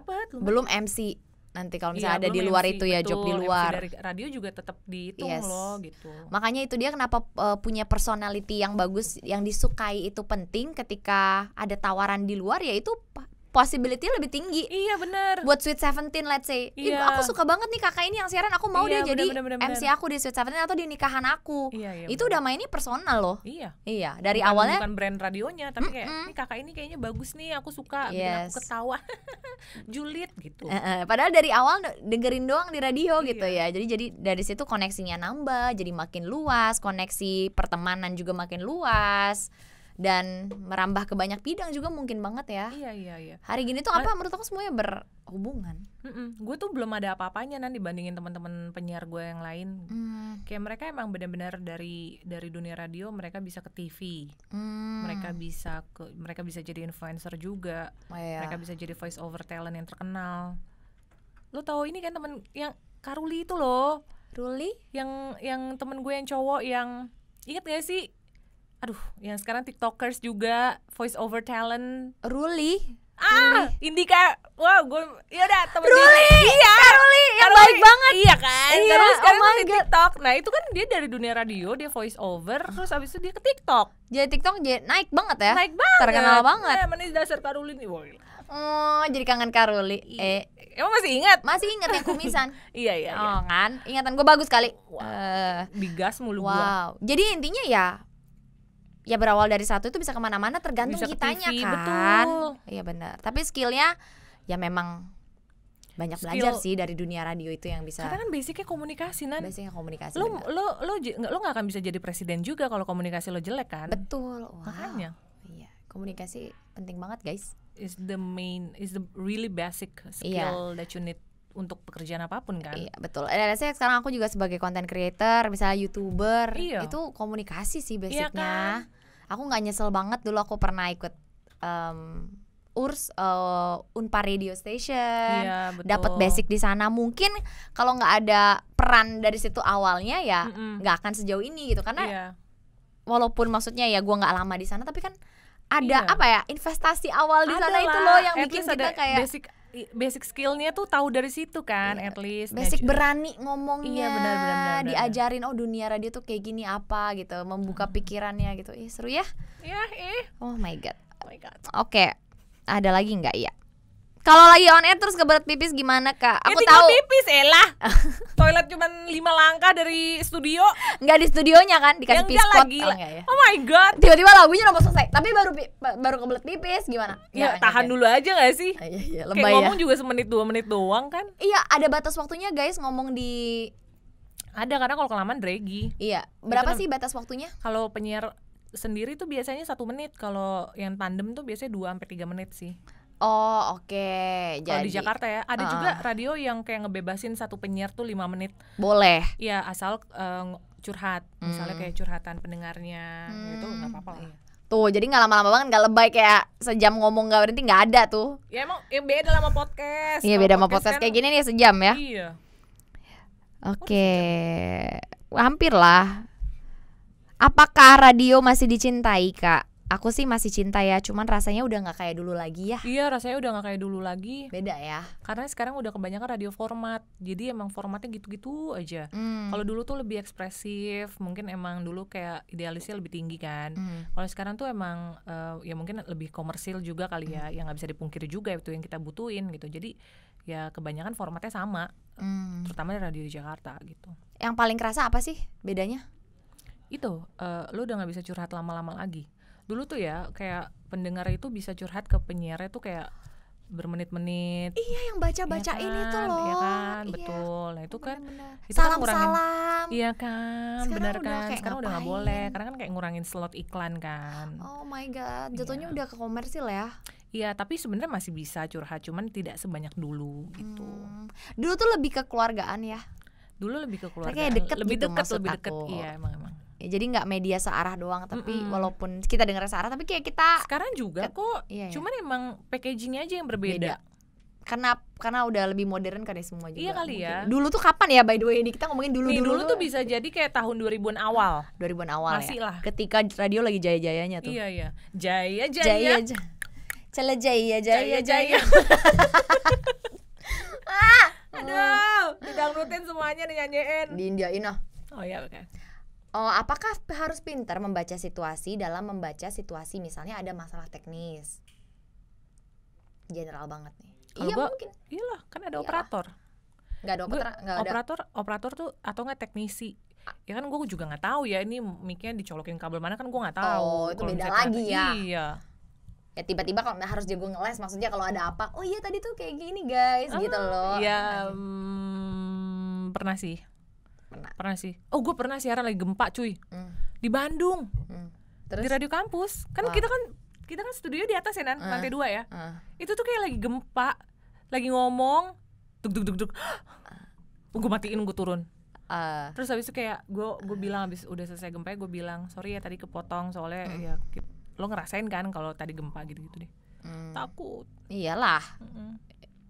dapat Belum MC Nanti kalau misalnya ada di luar itu ya job di luar dari radio juga tetap dihitung Yes. loh gitu. Makanya itu dia kenapa eh, punya personality yang bagus Yang disukai itu penting ketika ada tawaran di luar ya itu pa- possibility lebih tinggi Iya benar. buat Sweet Seventeen let's say Ih, Iya. aku suka banget nih kakak ini yang siaran aku mau Iya, dia jadi bener, bener, bener, MC bener. aku di Sweet Seventeen atau di nikahan aku Iya, iya, itu udah bener. mainnya personal loh Iya. iya dari Bukan- awalnya bukan brand radionya tapi kayak Mm-mm. ini kakak ini kayaknya bagus nih aku suka bikin Yes. aku ketawa julid gitu eh, eh, padahal dari awal de- dengerin doang di radio Iya. gitu ya jadi jadi dari situ koneksinya nambah jadi makin luas koneksi pertemanan juga makin luas dan merambah ke banyak bidang juga mungkin banget ya. Iya iya iya. Hari gini tuh apa menurut aku semuanya berhubungan. Gue tuh belum ada apa-apanya nan dibandingin teman-teman penyiar gue yang lain. Hmm, Kayak mereka emang benar-benar dari dari dunia radio mereka bisa ke TV, hmm. Mm. mereka bisa ke mereka bisa jadi influencer juga, Oh, iya. Ya. mereka bisa jadi voice over talent yang terkenal. Lo tahu ini kan temen yang Karuli itu loh, Ruli? yang yang temen gue yang cowok yang inget gak sih? Aduh, yang sekarang tiktokers juga voice over talent Ruli? Ah, Indika. Wah, gue ya udah temen Ruli. Iya. Ruli yang baik banget. Iya kan? Iya, terus sekarang tuh oh my di TikTok. Nah, itu kan dia dari dunia radio, dia voice over, Eh? terus habis itu dia ke TikTok. Jadi TikTok jadi naik banget ya? Naik banget. Terkenal banget. Nah, manis dasar Karulin. Wah, gila. Oh, jadi kangen Karuli. Eh, Emang masih ingat? masih ingat yang kumisan? Iya, iya, iya. Oh kan, ingatan gue bagus kali. Eh, Digas mulu gua. wow. Jadi intinya ya, ya berawal dari satu itu bisa kemana-mana tergantung Bisa ke kitanya TV, kan. betul. Iya benar. Tapi skillnya ya memang banyak Skill- belajar sih dari dunia radio itu yang bisa Karena kan basicnya komunikasi nan. biasanya komunikasi. Lo benar. lo lo j- nggak- lo nggak akan bisa jadi presiden juga kalau komunikasi lo jelek kan? betul. Wow. Makanya. Iya, komunikasi penting banget guys. is the main is the really basic skill that you need untuk pekerjaan apapun kan. Iya betul. Eh, saya sekarang aku juga sebagai content creator, misalnya youtuber, Iya. itu komunikasi sih basicnya. kan? Aku nggak nyesel banget dulu aku pernah ikut em, urs eh, unpar radio station, Iya, betul. dapat basic di sana. Mungkin kalau nggak ada peran dari situ awalnya ya Mm-mm. nggak akan sejauh ini gitu. Karena Iya. walaupun maksudnya ya gua nggak lama di sana, tapi kan ada Iya. apa ya investasi awal di sana itu Adalah, loh yang at bikin least ada kita kayak basic i- basic skillnya tuh tahu dari situ kan Iya, at least basic Nah, berani ngomongnya Iya, benar, benar, benar, benar. diajarin oh dunia radio tuh kayak gini apa gitu membuka pikirannya gitu ih seru ya ya eh oh my god Hmm. oh my god oke ada lagi nggak ya kalau lagi on air terus keberat pipis gimana kak Ya, aku tinggal tahu pipis elah toilet cuman lima langkah dari studio nggak di studionya kan dikasih yang piece enggak quote. lagi Oh, nggak ya oh my god tiba-tiba lagunya nomor selesai tapi baru pi- ba- baru kebelet pipis gimana ya Nggak, tahan nggak, dulu aja gak sih nggak. iya iya kayak lebay ya ngomong juga semenit dua menit doang kan iya ada batas waktunya guys ngomong di ada karena kalau kelamaan draggy iya berapa nam- sih batas waktunya kalau penyiar sendiri tuh biasanya satu menit kalau yang tandem tuh biasanya dua sampai tiga menit sih oh oke kalau jadi di Jakarta ya ada Ah. juga radio yang kayak ngebebasin satu penyiar tuh lima menit boleh ya asal eh, ng- curhat misalnya Hmm. kayak curhatan pendengarnya gitu nggak apa-apa lah Tuh, jadi nggak lama-lama banget nggak lebay kayak sejam ngomong nggak berhenti nggak ada tuh. ya emang ya beda lah sama podcast Iya Kalau beda sama podcast kan- kayak gini nih sejam ya. iya Oke, hampir lah. Apakah radio masih dicintai kak? Aku sih masih cinta ya, cuman rasanya udah nggak kayak dulu lagi ya. iya rasanya udah nggak kayak dulu lagi Beda ya. karena sekarang udah kebanyakan radio format jadi emang formatnya gitu-gitu aja Hmm. kalau dulu tuh lebih ekspresif mungkin emang dulu kayak idealisnya lebih tinggi kan Hmm. Kalau sekarang tuh emang eh, ya mungkin lebih komersil juga kali ya, Hmm. yang nggak bisa dipungkiri juga itu yang kita butuhin gitu. Jadi ya kebanyakan formatnya sama, Hmm. terutama di radio di Jakarta gitu. Yang paling kerasa apa sih bedanya? Itu eh, lo udah nggak bisa curhat lama-lama lagi. Dulu tuh ya kayak pendengar itu bisa curhat ke penyiarnya tuh kayak bermenit-menit. Iya yang baca-bacain ya kan? itu loh. Iya kan, Iya, betul. Nah itu kan bener-bener. itu kan ngurangin Salam-salam. Iya kan, Sekarang benar udah kan. kayak Sekarang udah nggak ngapain? boleh, karena kan kayak ngurangin slot iklan kan. Oh my god, jatuhnya Iya. udah ke komersil ya. Iya, tapi sebenarnya masih bisa curhat, cuman tidak sebanyak dulu gitu. Hmm. Dulu tuh lebih kekeluargaan ya. Dulu lebih ke keluarga. Kayak deket lebih gitu deket, maksud lebih deket. aku. Iya, emang emang. Ya, jadi nggak media searah doang, tapi Mm-mm. walaupun kita dengar searah, tapi kayak kita Ah, Sekarang juga kok. iya, ya. Cuman emang packagingnya aja yang berbeda. karena karena udah lebih modern kan ya semua juga. Iya kali ya. mungkin. Dulu tuh kapan ya by the way ini kita ngomongin dulu Nih, dulu, dulu tuh bisa jadi kayak tahun 2000-an awal. 2000-an awal Masih ya. lah. Ketika radio lagi jaya-jayanya tuh. Iya, iya. Jaya, jaya. Jaya jaya. Cela jaya jaya Jaya, jaya. jaya. Ah, Aduh, didangdutin semuanya nih nyanyiin. Oh. Di India ini. ah. Oh iya, oke. Oh, apakah harus pintar membaca situasi dalam membaca situasi misalnya ada masalah teknis? General banget nih. Kalau iya gua- mungkin. Iyalah, kan ada Iyalah. operator. Gak ada Gua- opera, Iya nggak ada. operator operator tuh atau nggak teknisi ya kan gue juga nggak tahu ya ini micnya dicolokin kabel mana kan gue nggak tahu Oh, itu Kalau beda misalkan- lagi ya. iya Ya tiba-tiba kalau harus jago ngeles maksudnya kalau ada apa. Oh iya tadi tuh kayak gini guys gitu loh. ya mm, pernah sih Pernah. pernah sih oh gue pernah siaran lagi gempa cuy Hmm, di Bandung hmm. Terus? di radio kampus kan Wow. kita kan kita kan studio di atas ya nan Ah. lantai dua ya Ah. itu tuh kayak lagi gempa lagi ngomong duk duk duk duk gue matiin gue turun Ah. terus habis itu kayak gue gue bilang habis udah selesai gempa gue bilang sorry ya tadi kepotong soalnya ya ki- lo ngerasain kan kalau tadi gempa gitu gitu deh Hmm. takut Iyalah. Mm-mm.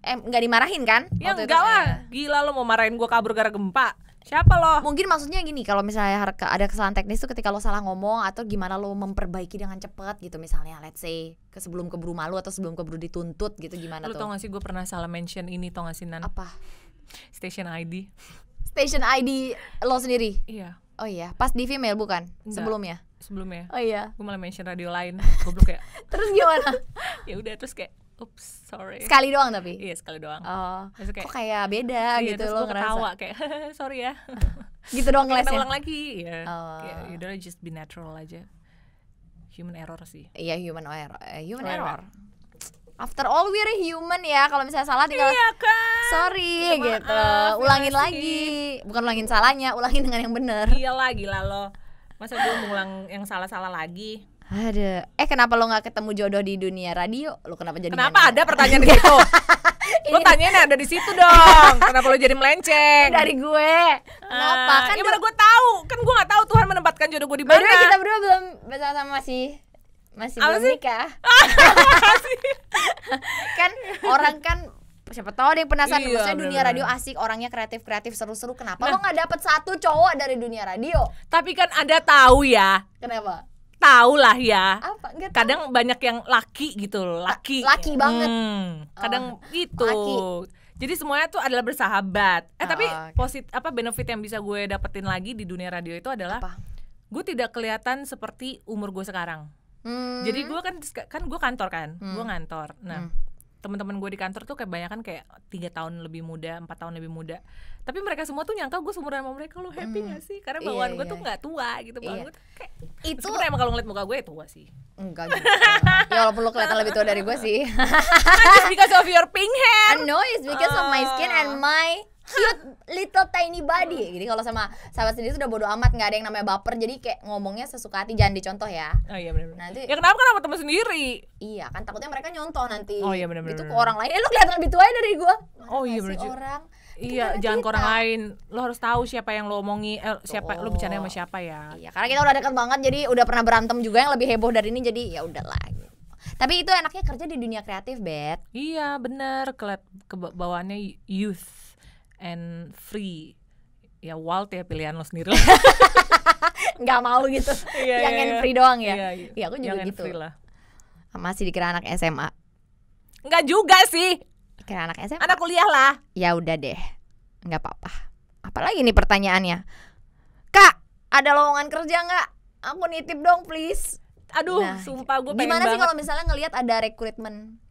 Eh nggak dimarahin kan? ya Waktu itu? enggak lah Eh, gila lo mau marahin gue kabur gara gempa siapa lo ya. Mungkin maksudnya gini, kalau misalnya har- ke- ada kesalahan teknis tuh ketika lo salah ngomong atau gimana lo memperbaiki dengan cepat gitu misalnya let's say ke sebelum keburu malu atau sebelum keburu dituntut gitu gimana lo tuh? tau gak sih gue pernah salah mention ini tau gak sih nan Apa? station ID Station ID lo sendiri. iya Oh iya, pas di female bukan? Enggak. Sebelumnya. sebelumnya Oh iya. gue malah mention radio lain goblok kayak Terus gimana? ya udah terus kayak oops sorry Sekali doang tapi. iya sekali doang Oh. Terus kayak- Kok kayak beda Iya, gitu terus gua lo ngerasa. ketawa kayak sorry ya Gitu doang kita ngelesnya. ulang lagi ya Oh. kayak yaudah lah, just be natural aja human error sih Iya human error. Eh, human Error. error. After all we're a human ya. Kalau misalnya salah tinggal iya kan sorry Minta gitu. maaf, ulangin ya sih. lagi. Bukan ulangin salahnya, ulangin dengan yang bener iya lah gila lo masa gue ngulang yang salah-salah lagi Ada. Eh kenapa lo nggak ketemu jodoh di dunia radio? Lo kenapa jadi kenapa nyanyi? ada pertanyaan di situ lo tanyain ada di situ dong kenapa lo jadi melenceng dari gue? Kenapa? Ah, kan ya do- mana gue tahu kan gue nggak tahu Tuhan menempatkan jodoh gue di By the way, kita mana berdua belum bersama-sama masih masih Apa belum sih? nikah. kan orang kan siapa tahu ada yang penasaran Iya, Nah. maksudnya dunia bener-bener. radio asik orangnya kreatif kreatif seru seru kenapa lo nggak dapet satu cowok dari dunia radio tapi kan ada tahu ya kenapa tahu lah ya apa nggak tahu. kadang banyak yang laki gitu loh laki Laki banget. Oh, Hmm, kadang gitu laki. jadi semuanya tuh adalah bersahabat eh tapi Oh, oke. posit apa benefit yang bisa gue dapetin lagi di dunia radio itu adalah Apa? gue tidak kelihatan seperti umur gue sekarang Hmm, jadi gue kan kan gue kantor kan gue ngantor nah teman-teman gue di kantor tuh kebanyakan kayak tiga tahun lebih muda empat tahun lebih muda tapi mereka semua tuh nyangka gue seumuran sama mereka lo happy gak sih karena Iya, bawaan gue tuh iya. nggak tua gitu bawaan Iya. gue tuh kayak itu meskipun emang kalau ngeliat muka gue ya tua sih enggak gitu ya walaupun lo kelihatan lebih tua dari gue sih Nah, just because of your pink hair I know it's because of my skin Ah. and my cute little tiny body jadi kalau sama sahabat sendiri sudah bodo amat nggak ada yang namanya baper jadi kayak ngomongnya sesuka hati jangan dicontoh ya Oh iya benar. Nanti- Ya kenapa kan sama teman sendiri? Iya kan takutnya mereka nyontoh nanti. Oh, iya, bener-bener. Itu ke orang lain. Eh lu kelihatan lebih tua ya dari gua. Mana Oh, iya, sih bener juga. orang. Iya, Gimana jangan ke orang kita? lain. Lo harus tahu siapa yang lo omongi, eh, siapa Oh. lo bercanda sama Betul. siapa ya. Iya, karena kita udah dekat banget jadi udah pernah berantem juga yang lebih heboh dari ini jadi ya udahlah. gitu. Tapi itu enaknya kerja di dunia kreatif, Bet. Iya, bener. Kelet kebawaannya youth and free. Ya wild ya pilihan lo sendiri. lah. Nggak mau gitu. Iya, yang iya, hand iya. free doang ya. Iya, iya. Iya, aku juga Yang hand gitu. free lah. Masih dikira anak SMA. Enggak juga sih. Kira anak SMA. Anak kuliah lah. Ya udah deh. nggak apa-apa. Apalagi nih pertanyaannya. Kak, ada lowongan kerja nggak? Aku nitip dong please. Aduh, Nah, sumpah gue pengen Gimana sih banget. kalau misalnya ngelihat ada rekrutmen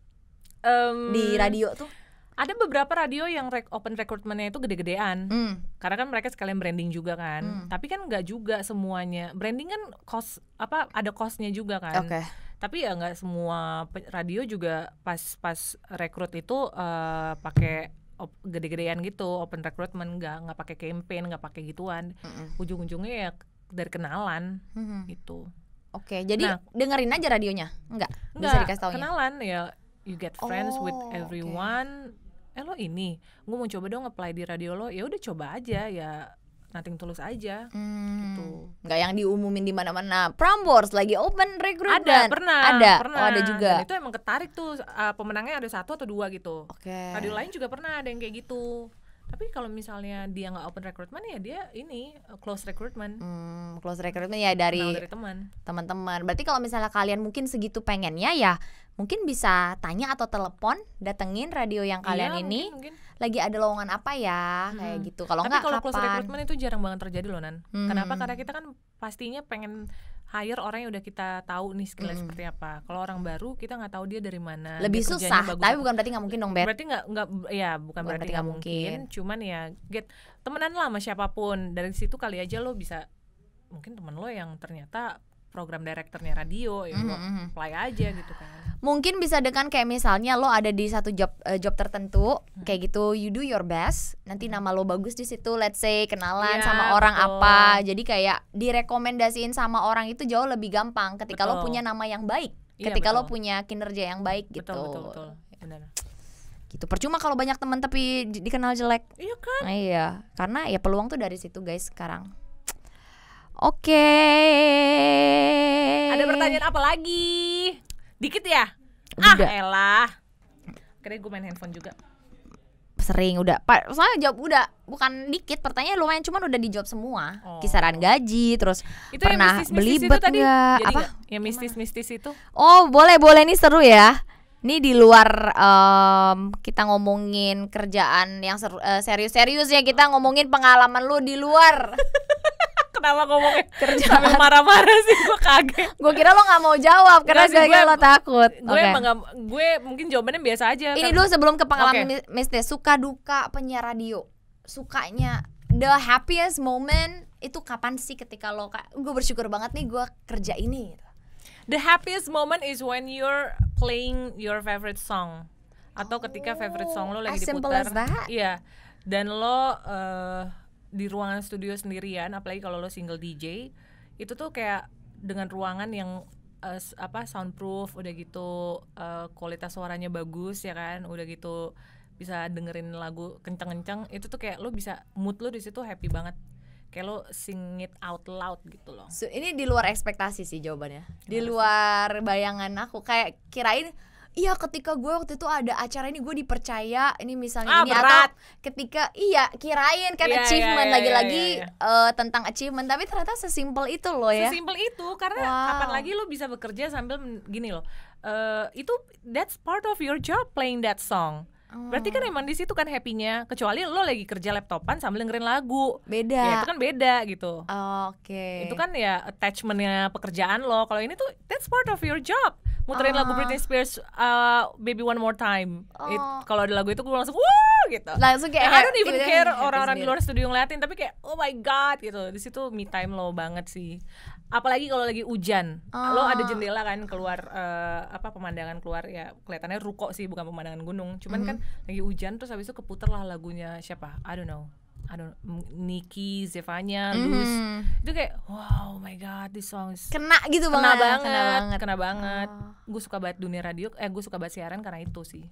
Em, di radio tuh? Ada beberapa radio yang rek- open recruitment-nya itu gede-gedean. Hmm. karena kan mereka sekalian branding juga kan Hmm. tapi kan nggak juga semuanya branding kan cost apa ada costnya juga kan Oke. tapi ya nggak semua pe- radio juga pas pas rekrut itu eh, pakai op- gede-gedean gitu open recruitment nggak nggak pakai campaign nggak pakai gituan Hmm, ujung-ujungnya ya k- dari kenalan Mhm. gitu Oke, Nah. jadi dengerin aja radionya. Enggak. Bisa nggak dikasih taunya. kenalan ya you get friends with Oh, oke. everyone eh lo ini gue mau coba dong apply di radio lo ya udah coba aja ya nothing tulus aja Hmm. gitu Enggak yang diumumin di mana-mana. Prambors lagi open recruitment. Ada pernah. Ada. pernah. Oh, ada juga. Dan itu emang ketarik tuh uh, pemenangnya ada satu atau dua gitu. Oke. Radio lain juga pernah ada yang kayak gitu. Tapi kalau misalnya dia nggak open recruitment ya dia ini uh, close recruitment. Hmm, close recruitment ya Kenal dari dari teman. teman-teman. Berarti kalau misalnya kalian mungkin segitu pengennya ya, mungkin bisa tanya atau telepon, datengin radio yang kalian Iya, ini mungkin- mungkin. lagi ada lowongan apa ya, kayak Mm-mm. gitu. Kalau Tapi enggak kalau kapan? close recruitment itu jarang banget terjadi loh Nan. Hmm. Kenapa? Karena kita kan pastinya pengen hire orang yang udah kita tahu nih skillnya Mm-mm. seperti apa. Kalau orang baru kita nggak tahu dia dari mana. Hmm. Lebih dia kerjanya susah, bagus tapi apa bukan berarti nggak mungkin dong, Bet. berarti nggak nggak ya bukan berarti nggak mungkin. cuman ya get temenan lah sama siapapun dari situ kali aja lo bisa mungkin temen lo yang ternyata program direkturnya radio ya gua Mhm, mhm. apply aja gitu kan Mungkin bisa dengan kayak misalnya lo ada di satu job eh, job tertentu Hmm. kayak gitu you do your best nanti nama lo bagus di situ let's say kenalan Iya, sama orang betul. apa jadi kayak direkomendasiin sama orang itu jauh lebih gampang ketika lo Betul. punya nama yang baik Iya, ketika lo betul. punya kinerja yang baik gitu betul betul betul benar gitu percuma kalau banyak teman tapi j- dikenal jelek iya kan Nah, iya karena ya peluang tuh dari situ guys sekarang oke ada pertanyaan apa lagi dikit ya ah Udah. elah kira gue main handphone juga sering udah pak soalnya jawab udah bukan dikit pertanyaan lumayan cuman udah dijawab semua Oh. kisaran gaji terus itu yang pernah mistis mistis itu belibet tadi nggak jadi apa nggak? yang mistis mistis itu oh boleh boleh ini seru ya ini di luar em, kita ngomongin kerjaan yang seru- eh, serius-serius ya kita ngomongin pengalaman lu di luar kenapa ngomongnya kerja marah-marah sih gue kaget gue kira lo nggak mau jawab Nggak karena sih, gue kira gue- lo takut gue Oke. emang nggak- gue mungkin jawabannya biasa aja kan. ini dulu sebelum ke pengalaman Oke. mis- mistis suka duka penyiar radio sukanya the happiest moment itu kapan sih ketika lo gue bersyukur banget nih gue kerja ini gitu. the happiest moment is when you're playing your favorite song atau ketika favorite song lo lagi as simple diputar as that. iya dan lo eh, di ruangan studio sendirian apalagi kalau lo single DJ itu tuh kayak dengan ruangan yang eh, s- apa soundproof udah gitu eh, kualitas suaranya bagus ya kan udah gitu bisa dengerin lagu kenceng-kenceng itu tuh kayak lo bisa mood lo di situ happy banget kayak lo sing it out loud gitu loh So, ini di luar ekspektasi sih jawabannya di luar bayangan aku kayak kirain Iya ketika gue waktu itu ada acara ini gue dipercaya ini misalnya Ah, ini berat. atau ketika iya kirain kan Iya, iya, achievement iya, iya, lagi-lagi iya, eh, tentang achievement tapi ternyata sesimpel itu loh ya Sesimpel itu karena Wow. kapan lagi lu bisa bekerja sambil men- gini loh. eh, itu that's part of your job playing that song. Berarti kan emang di situ kan happy-nya kecuali lo lagi kerja laptopan sambil dengerin lagu. beda Ya itu kan beda gitu. oke Itu kan ya attachmentnya pekerjaan lo. Kalau ini tuh that's part of your job. Muterin Ah. lagu Britney Spears uh, Baby One More Time. It- Oh. Kalau ada lagu itu gue langsung wah gitu. langsung I kayak don't even tiba-tiba care happy orang-orang di sendiri. luar studio ngeliatin tapi kayak oh my god gitu di situ me time lo banget sih apalagi kalau lagi hujan lo Ah. ada jendela kan keluar eh, apa pemandangan keluar ya kelihatannya ruko sih bukan pemandangan gunung cuman Mm-hmm. kan lagi hujan terus habis itu keputer lah lagunya siapa I don't know I don't M- Nicki Zevanya Luz Mhm. itu kayak wow oh my god this song is kena gitu kena banget banget kena banget. kena banget Oh. gue suka banget dunia radio eh gue suka banget siaran karena itu sih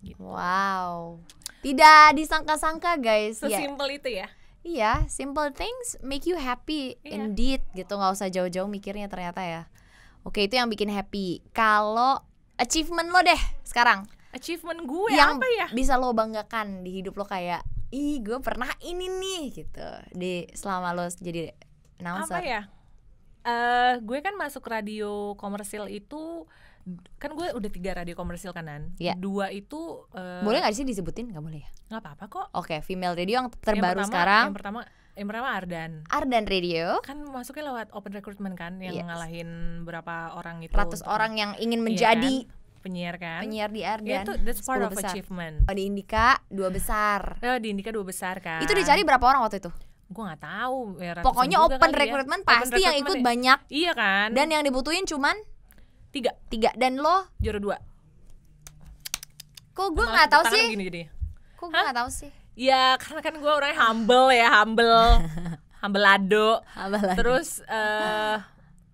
gitu. wow tidak disangka-sangka guys Ya, sesimpel itu ya iya simple things make you happy Iya. indeed gitu nggak usah jauh-jauh mikirnya ternyata ya oke itu yang bikin happy kalau achievement lo deh sekarang achievement gue yang apa ya bisa lo banggakan di hidup lo kayak ih gue pernah ini nih gitu di selama lo jadi apa announcer ya? Eh, gue kan masuk radio komersil itu kan gue udah tiga radio komersil kanan. Iya. Dua itu eh, boleh nggak sih disebutin nggak boleh ya nggak apa-apa kok. oke female radio yang Yang terbaru pertama- sekarang Yang pertama yang pertama Ardan. Ardan Radio Kan masuknya lewat open recruitment kan yang Yes. ngalahin berapa orang itu. ratus untuk- orang yang Iya ingin menjadi kan? penyiar kan. penyiar di Ya, Ardan. itu that's part 10 of besar. achievement. Oh, di Indika dua besar. Eh, di Indika dua besar kan. Itu dicari berapa orang waktu itu? Gue nggak tahu. ya, ratusan Pokoknya juga open kali ya. recruitment Open pasti yang ikut recruitment ya. banyak Iya kan. dan yang dibutuhin cuman tiga tiga dan lo juara dua. kok gue Malah nggak tahu tangan sih Begini jadinya. kok gue nggak tahu sih Ya karena kan gue orangnya humble ya humble Humbleado Abalah. Terus eh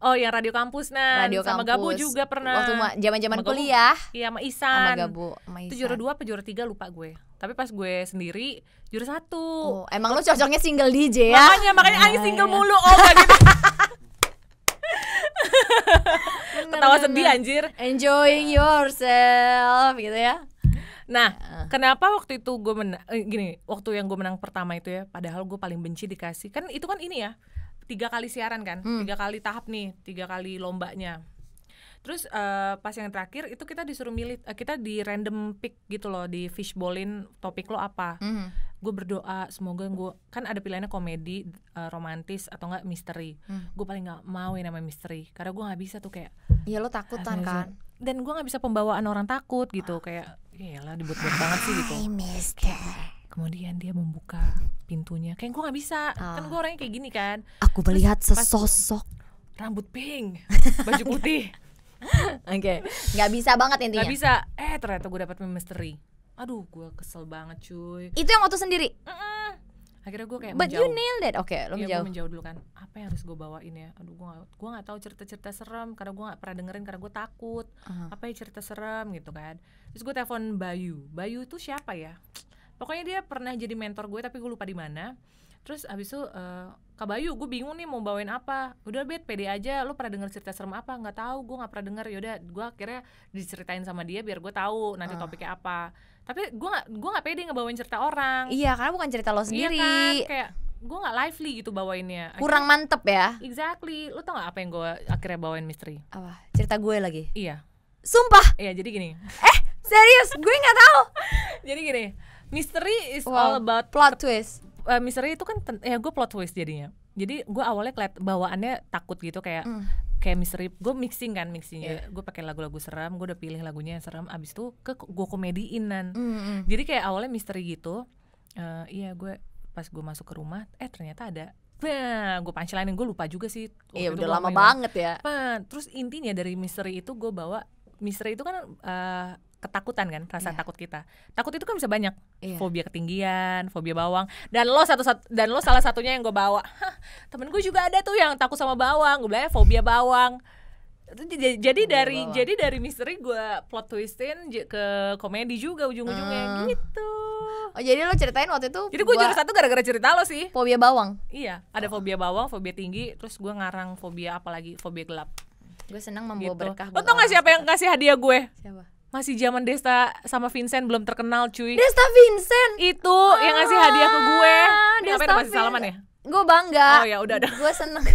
Oh yang Radio Kampus nah radio Sama kampus Gabu juga pernah waktu ma- zaman-zaman Sama Gabu. kuliah Iya sama sama Isan Gabu sama Itu Isan. juara 2 apa juara 3 lupa gue Tapi pas gue sendiri juara 1 Oh, emang lo cocoknya single DJ ya? Makanya makanya Aing single mulu Oh gak gitu Ketawa sedih anjir Enjoying yourself gitu ya. Nah, kenapa waktu itu gue menang gini, waktu yang gue menang pertama itu ya, padahal gue paling benci dikasih. Kan itu kan ini ya, tiga kali siaran kan, tiga kali tahap nih, tiga kali lombanya. Terus eh, pas yang terakhir itu kita disuruh milih, eh, kita di random pick gitu loh, di fishballin topik lo apa. Mhm. Gue berdoa semoga gue kan ada pilihannya komedi, eh, romantis atau enggak misteri. Gue paling nggak mau yang namanya misteri, karena gue nggak bisa tuh kayak Ya lo takutan kan? dan gue nggak bisa pembawaan orang takut gitu kayak lah dibuat-buat banget sih gitu Mister, kemudian dia membuka Ah. pintunya kayak gue nggak bisa kan gue orangnya kayak gini kan aku melihat Terus pas- sesosok rambut pink, baju putih, Oke. Nggak bisa banget intinya. nggak bisa. Eh ternyata gue dapat misteri. Aduh, gue kesel banget cuy. Itu yang waktu sendiri. Mm-mm. Akhirnya gue kayak But you menjauh. nailed it. Oke, lo Eh, Iya, menjauh. gue menjauh dulu kan. Apa yang harus gue bawain ya? Aduh, gue gak, gua nggak tahu cerita-cerita serem karena gue gak pernah dengerin karena gue takut. Ah. Apa ya cerita serem gitu kan? Terus gue telepon Bayu. Bayu tuh siapa ya? Pokoknya dia pernah jadi mentor gue tapi gue lupa di mana. Terus abis itu eh, Kak Bayu, gue bingung nih mau bawain apa. Udah bet, pede aja. Lo pernah denger cerita serem apa? Nggak tahu, gue nggak pernah denger. Yaudah, gue akhirnya diceritain sama dia biar gue tahu nanti topiknya apa. Tapi gue gak, gue nggak pede ngebawain cerita orang. Iya, karena bukan cerita lo Iya sendiri. kan, kayak gue nggak lively gitu bawainnya. Kurang mantep ya. Exactly. Lu tau gak apa yang gue akhirnya bawain misteri? Apa? Cerita gue lagi. Iya. Sumpah. Iya, jadi gini. Serius, gue nggak tahu. jadi gini. Misteri is Wow. all about Plot twist. eh, misteri itu kan ten- ya gue plot twist jadinya. Jadi gue awalnya keliat bawaannya takut gitu kayak Mm. kayak misteri. Gue mixing kan Iya. mixingnya. Gue pakai lagu-lagu serem. Gue udah pilih lagunya yang serem. Abis itu ke gue komediin Nan. Mm-mm. Jadi kayak awalnya misteri gitu. Eh, iya gue pas gue masuk ke rumah, eh ternyata ada. Nah, gue punchline gue lupa juga sih. Waktu Iya, Oh, itu udah gua lama main- banget ya. apa terus intinya dari misteri itu gue bawa misteri itu kan eh, ketakutan kan rasa Iya. takut kita takut itu kan bisa banyak Iya. fobia ketinggian fobia bawang dan lo satu sat- dan lo salah satunya yang gue bawa Hah, temen gue juga ada tuh yang takut sama bawang gue bilangnya fobia bawang Itu j- jadi dari bawang. jadi dari misteri gue plot twistin j- ke komedi juga Ah. ujung-ujungnya gitu Oh, jadi lo ceritain waktu itu jadi gue juara satu gara-gara cerita lo sih fobia bawang. iya ada Oh. fobia bawang fobia tinggi terus gue ngarang fobia apa lagi fobia gelap Gue senang membawa gitu. berkah. Lo buat tau gak orang siapa yang kasih hadiah gue? sekitar. Siapa? Masih zaman Desta sama Vincent belum terkenal cuy. Desta Vincent. Itu yang ngasih hadiah ke gue. Ini Desta ngapain lu masih salaman ya? Vincent. Gue bangga. Oh, ya udah, udah. Gue seneng.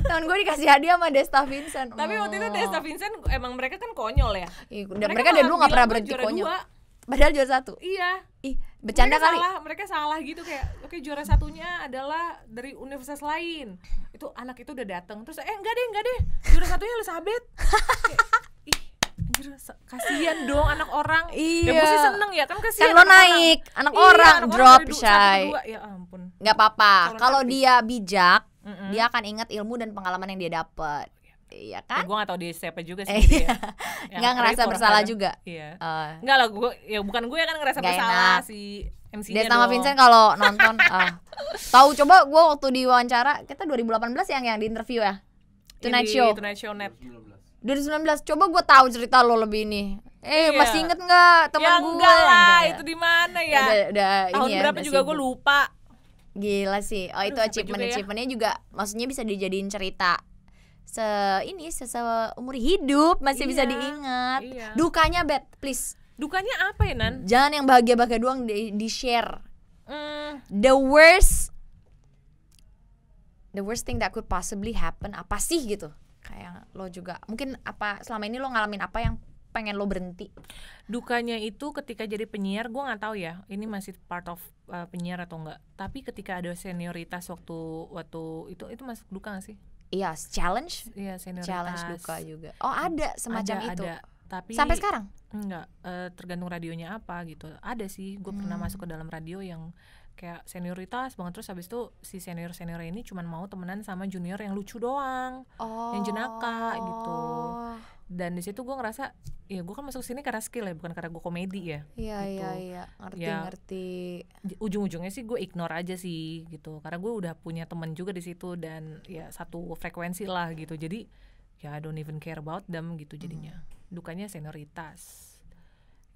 Tahun gue dikasih hadiah sama Desta Vincent. Tapi waktu itu Desta Vincent emang mereka kan konyol ya. Ih, dan mereka dari dulu malah nggak pernah bilang berhenti gue juara konyol. dua. Padahal juara satu. Iya. Ih, bercanda mereka kali. Salah, mereka salah gitu kayak oke juara satunya adalah dari universitas lain. Itu anak itu udah datang terus eh enggak deh, enggak deh. Juara satunya Elizabeth. Kayak, Ih, anjir sa- kasihan dong anak orang. Ya gue sih Iya. seneng ya kan kasihan. Kan lo anak orang. naik, anak Iya, orang anak drop, dari du- satu Shay. ke dua. Ya ampun. Nggak apa-apa. Kalau Kalau nanti. dia bijak, Mm-mm. dia akan ingat ilmu dan pengalaman yang dia dapat. Ya, Iya kan? gue gak tau dia siapa juga sih. Eh, jadi ya. Ya, Nggak ngerasa report bersalah kan. juga. Iya. Eh, Enggak lah gue, ya bukan gue kan ngerasa Nggak bersalah enak. si MC-nya Dia sama dong. Vincent kalau nonton ah. Tahu coba gue waktu diwawancara kita 2018 yang yang di interview ya. Yang Iya, Tonight di Show. Tonight Show net. 2019. 2019 coba gue tahu cerita lo lebih ini. Eh Iya. masih inget nggak teman ya gue? enggak lah, Enggak ya. itu di mana ya? Udah, udah Tahun ini ya, berapa udah juga gue sibuk. lupa. Gila sih. Oh itu Aduh, capek achievement juga ya. achievementnya juga maksudnya bisa dijadiin cerita se ini seumur hidup masih bisa Iya, diingat. iya. Dukanya bet please Dukanya apa ya Nan? jangan yang bahagia-bahagia doang di, di share. Hmm, the worst the worst thing that could possibly happen apa sih gitu kayak lo juga mungkin apa selama ini lo ngalamin apa yang pengen lo berhenti dukanya itu ketika jadi penyiar gue nggak tahu ya ini masih part of uh, penyiar atau enggak tapi ketika ada senioritas waktu waktu itu itu masuk duka gak sih iya challenge iya senioritas challenge duka juga oh ada semacam Ada, itu ada. tapi sampai sekarang enggak eh, tergantung radionya apa gitu ada sih gue pernah Hmm. masuk ke dalam radio yang kayak senioritas banget terus habis itu si senior senior ini cuman mau temenan sama junior yang lucu doang oh Yang jenaka gitu. dan di situ gue ngerasa ya gue kan masuk sini karena skill ya bukan karena gue komedi ya iya Gitu. iya iya ngerti Ya. ngerti J- ujung-ujungnya sih gue ignore aja sih gitu karena gue udah punya temen juga di situ dan ya satu frekuensi lah gitu jadi ya I don't even care about them Hmm. gitu jadinya dukanya senioritas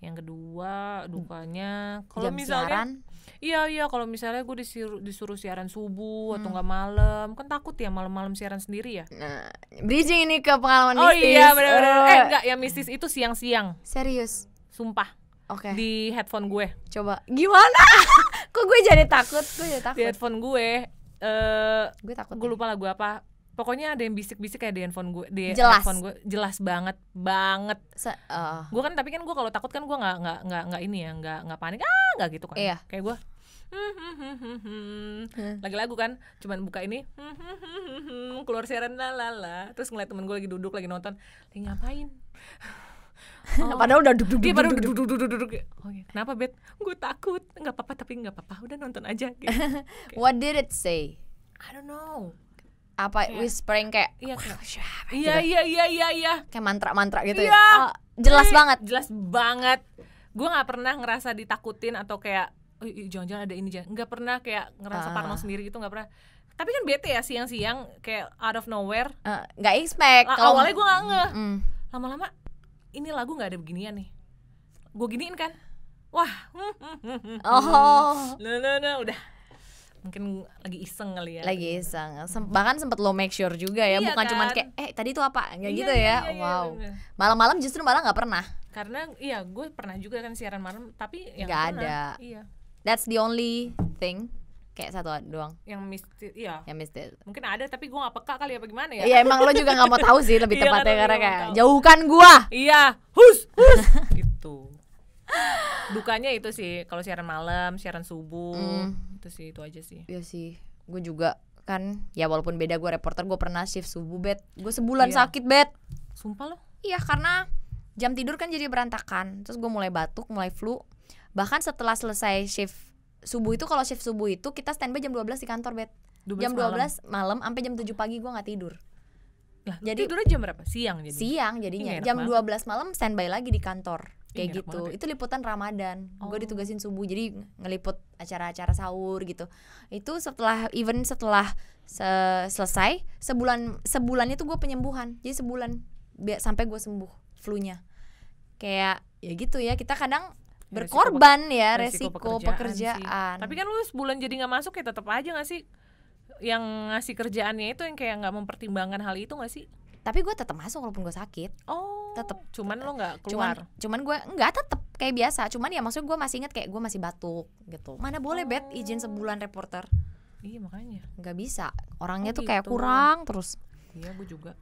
yang kedua dukanya kalau Hmm. jam misalnya siaran iya iya kalau misalnya gue disuruh disuruh siaran subuh Hmm. atau nggak malam kan takut ya malam-malam siaran sendiri ya nah, bridging ini ke pengalaman oh mistis. iya benar-benar Eh, eh enggak yang mistis itu siang-siang serius sumpah oke di headphone gue coba gimana kok gue jadi takut gue jadi di takut headphone gue eh gue takut gue lupa lagu apa pokoknya ada yang bisik-bisik kayak di handphone gue di Jelas. handphone gue jelas banget banget Se- eh, gue kan tapi kan gue kalau takut kan gue nggak nggak nggak nggak ini ya nggak nggak panik ah nggak gitu kan Iya. kayak "Hmm, gue lagi lagu hmm." kan cuman buka ini "Hmm, keluar siaran lalala terus ngeliat temen gue lagi duduk lagi nonton lagi ngapain Oh. padahal udah duduk dia baru duduk duduk duduk duduk oh, iya. kenapa bet gue takut nggak apa-apa tapi nggak apa-apa udah nonton aja gitu. What did it say? I don't know apa Kayak- whispering kayak Iya, kayak- "Wah, iya gitu. iya iya iya iya kayak mantra-mantra gitu ya. Iya. Oh, jelas Ih, banget. jelas banget gue nggak pernah ngerasa ditakutin atau kayak "Oh, ih, jangan-jangan ada ini jangan nggak pernah kayak ngerasa Ah. parno sendiri gitu nggak pernah tapi kan bete ya siang-siang kayak out of nowhere Eh, nggak expect La- kalau- awalnya gue nggak ngeh Mm. lama-lama ini lagu nggak ada beginian nih gue giniin kan wah hmm, hmm, hmm, hmm. Oh, Nah, nah, nah, udah mungkin lagi iseng kali ya lagi iseng. Sem- bahkan sempat lo make sure juga ya, Iya bukan kan? cuman kayak eh tadi itu apa? Enggak Iya, gitu iya, ya. iya, iya, wow. bener. Malam-malam justru malah nggak pernah. karena iya gue pernah juga kan siaran malam tapi yang Nggak pernah, ada. iya That's the only thing. Kayak satu doang yang misti iya yang missed it. mungkin ada tapi gue nggak peka kali ya bagaimana ya Iya emang lo juga nggak mau tahu sih lebih Iya, tepatnya karena karena nggak mau kayak tahu. jauhkan gua. iya hus hus gitu dukanya itu sih kalau siaran malam siaran subuh Mm. itu sih itu aja sih Iya sih, gue juga kan ya walaupun beda gue reporter gue pernah shift subuh bet gue sebulan Iya. sakit bet sumpah loh iya karena jam tidur kan jadi berantakan terus gue mulai batuk mulai flu bahkan setelah selesai shift subuh itu kalau shift subuh itu kita standby jam 12 di kantor bet 12 jam 12 malam. malam, sampai jam 7 pagi gue nggak tidur Lah, Ya, lu Jadi- tidurnya jam berapa siang jadi siang Ih, jadinya enak jam banget. 12 malam standby lagi di kantor kayak enak gitu banget ya. itu liputan ramadan Oh. gue ditugasin subuh jadi ngeliput acara-acara sahur gitu itu setelah event setelah se- selesai sebulan sebulan itu gue penyembuhan jadi sebulan bi- sampai gue sembuh flu-nya kayak ya gitu ya kita kadang Ya, resiko berkorban ya resiko resiko, pekerjaan pekerjaan, sih. tapi kan lu sebulan jadi nggak masuk ya tetap aja nggak sih yang ngasih kerjaannya itu yang kayak nggak mempertimbangkan hal itu nggak sih tapi gue tetap masuk walaupun gue sakit oh Tetep. cuman lo nggak cuman keluar cuman gue enggak tetep kayak biasa cuman ya maksud gue masih inget kayak gue masih batuk gitu mana boleh bet Oh. izin sebulan reporter iya makanya nggak bisa orangnya Oh, tuh kayak gitu. kurang terus iya gue juga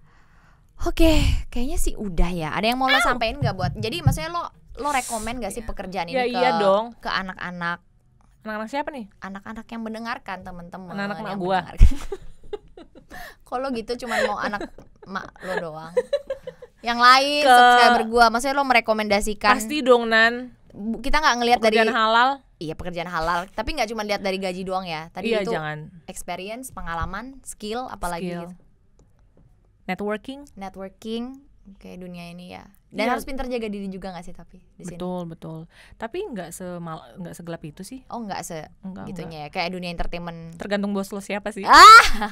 oke kayaknya sih udah ya ada yang mau lo sampein nggak buat jadi maksudnya lo lo rekomen gak sih pekerjaan ini Ya, ke iya dong. ke anak-anak anak-anak siapa nih anak-anak yang mendengarkan teman-teman Anak-anak mak yang gua. mendengarkan. kalau gitu cuman mau anak mak lo doang yang lain Ke- subscriber gua maksudnya lo merekomendasikan pasti dong nan Bu- kita nggak ngelihat dari pekerjaan halal iya pekerjaan halal tapi nggak cuma lihat dari gaji doang ya tadi iya itu jangan experience pengalaman skill apalagi Skill. gitu. networking networking kayak dunia ini ya dan Iya. harus pintar jaga diri juga nggak sih tapi di sini betul betul tapi nggak semal nggak segelap itu sih oh nggak se enggak, enggak. gitunya ya kayak dunia entertainment tergantung bos lo siapa sih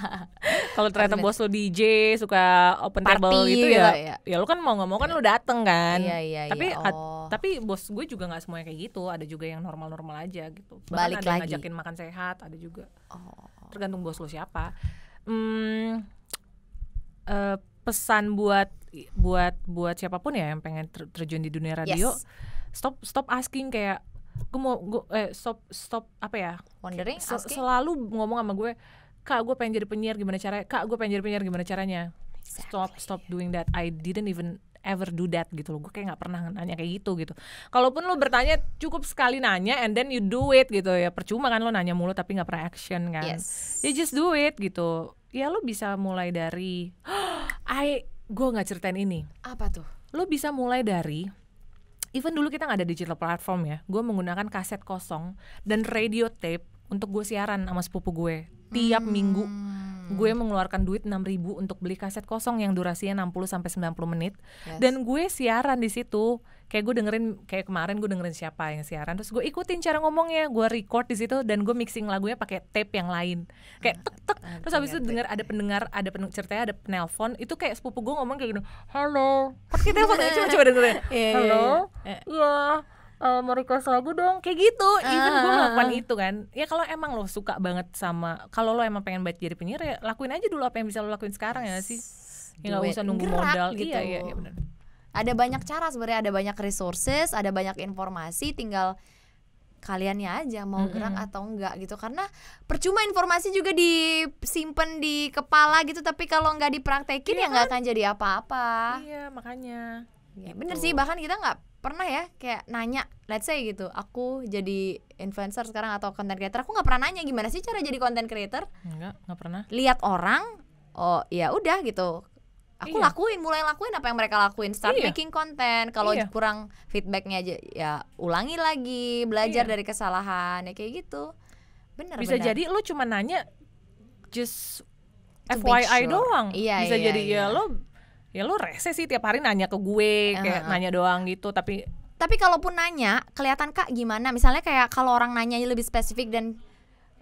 kalau ternyata bos lo DJ suka open Ah! Party table gitu gitu ya ya. ya, lo kan mau nggak mau kan lo dateng kan Iya, iya, tapi iya. at- Oh. tapi bos gue juga nggak semuanya kayak gitu ada juga yang normal normal aja gitu ada Balik yang lagi. ngajakin makan sehat ada juga oh tergantung bos lo siapa Hmm, eh, pesan buat buat buat siapapun ya yang pengen ter- terjun di dunia radio Yes. stop stop asking kayak gue mau gua- eh stop stop apa ya wondering Sel- asking selalu ngomong sama gue kak gue pengen jadi penyiar gimana caranya kak gue pengen jadi penyiar gimana caranya stop stop doing that I didn't even ever do that gitu loh gue kayak nggak pernah nanya kayak gitu gitu kalaupun lo bertanya cukup sekali nanya and then you do it gitu ya percuma kan lo nanya mulu tapi nggak pernah action kan yes ya just do it gitu ya lo bisa mulai dari I gue nggak ceritain ini apa tuh lo bisa mulai dari even dulu kita nggak ada digital platform ya gue menggunakan kaset kosong dan radio tape untuk gue siaran sama sepupu gue tiap minggu Hmm. gue mengeluarkan duit 6000 ribu untuk beli kaset kosong yang durasinya 60 sampai 90 menit Yes. dan gue siaran di situ kayak gue dengerin kayak kemarin gue dengerin siapa yang siaran terus gue ikutin cara ngomongnya gue record di situ dan gue mixing lagunya pakai tape yang lain kayak tek tek terus habis itu denger ada pendengar ada pendengar ceritanya ada penelpon itu kayak sepupu gue ngomong kayak gini halo kan kita telepon aja, coba coba dengerin iya, halo ya eh, mau request lagu dong kayak gitu even Ah. gue melakukan itu kan ya kalau emang lo suka banget sama kalau lo emang pengen banget jadi penyiar ya lakuin aja dulu apa yang bisa lo lakuin sekarang ya nggak sih ya nggak Do it. usah nunggu Gerak modal gitu. iya iya, iya benar ada banyak cara sebenarnya ada banyak resources ada banyak informasi tinggal kaliannya aja mau gerak atau enggak gitu karena percuma informasi juga disimpan di kepala gitu tapi kalau nggak dipraktekin ya nggak akan jadi apa-apa iya makanya Ya, bener sih bahkan kita nggak pernah ya kayak nanya let's say gitu aku jadi influencer sekarang atau content creator aku nggak pernah nanya gimana sih cara jadi content creator Enggak, enggak pernah. lihat orang oh ya udah gitu aku Iya. lakuin mulai lakuin apa yang mereka lakuin start Iya. making konten kalau Iya. kurang feedbacknya aja ya ulangi lagi belajar Iya. dari kesalahan ya kayak gitu bener Bisa bener. jadi lo cuma nanya just To make FYI sure. doang Iya, bisa iya, jadi ya iya. lo ya lo rese sih tiap hari nanya ke gue kayak Uh-huh. nanya doang gitu tapi Tapi kalaupun nanya, kelihatan Kak gimana? Misalnya kayak kalau orang nanya lebih spesifik dan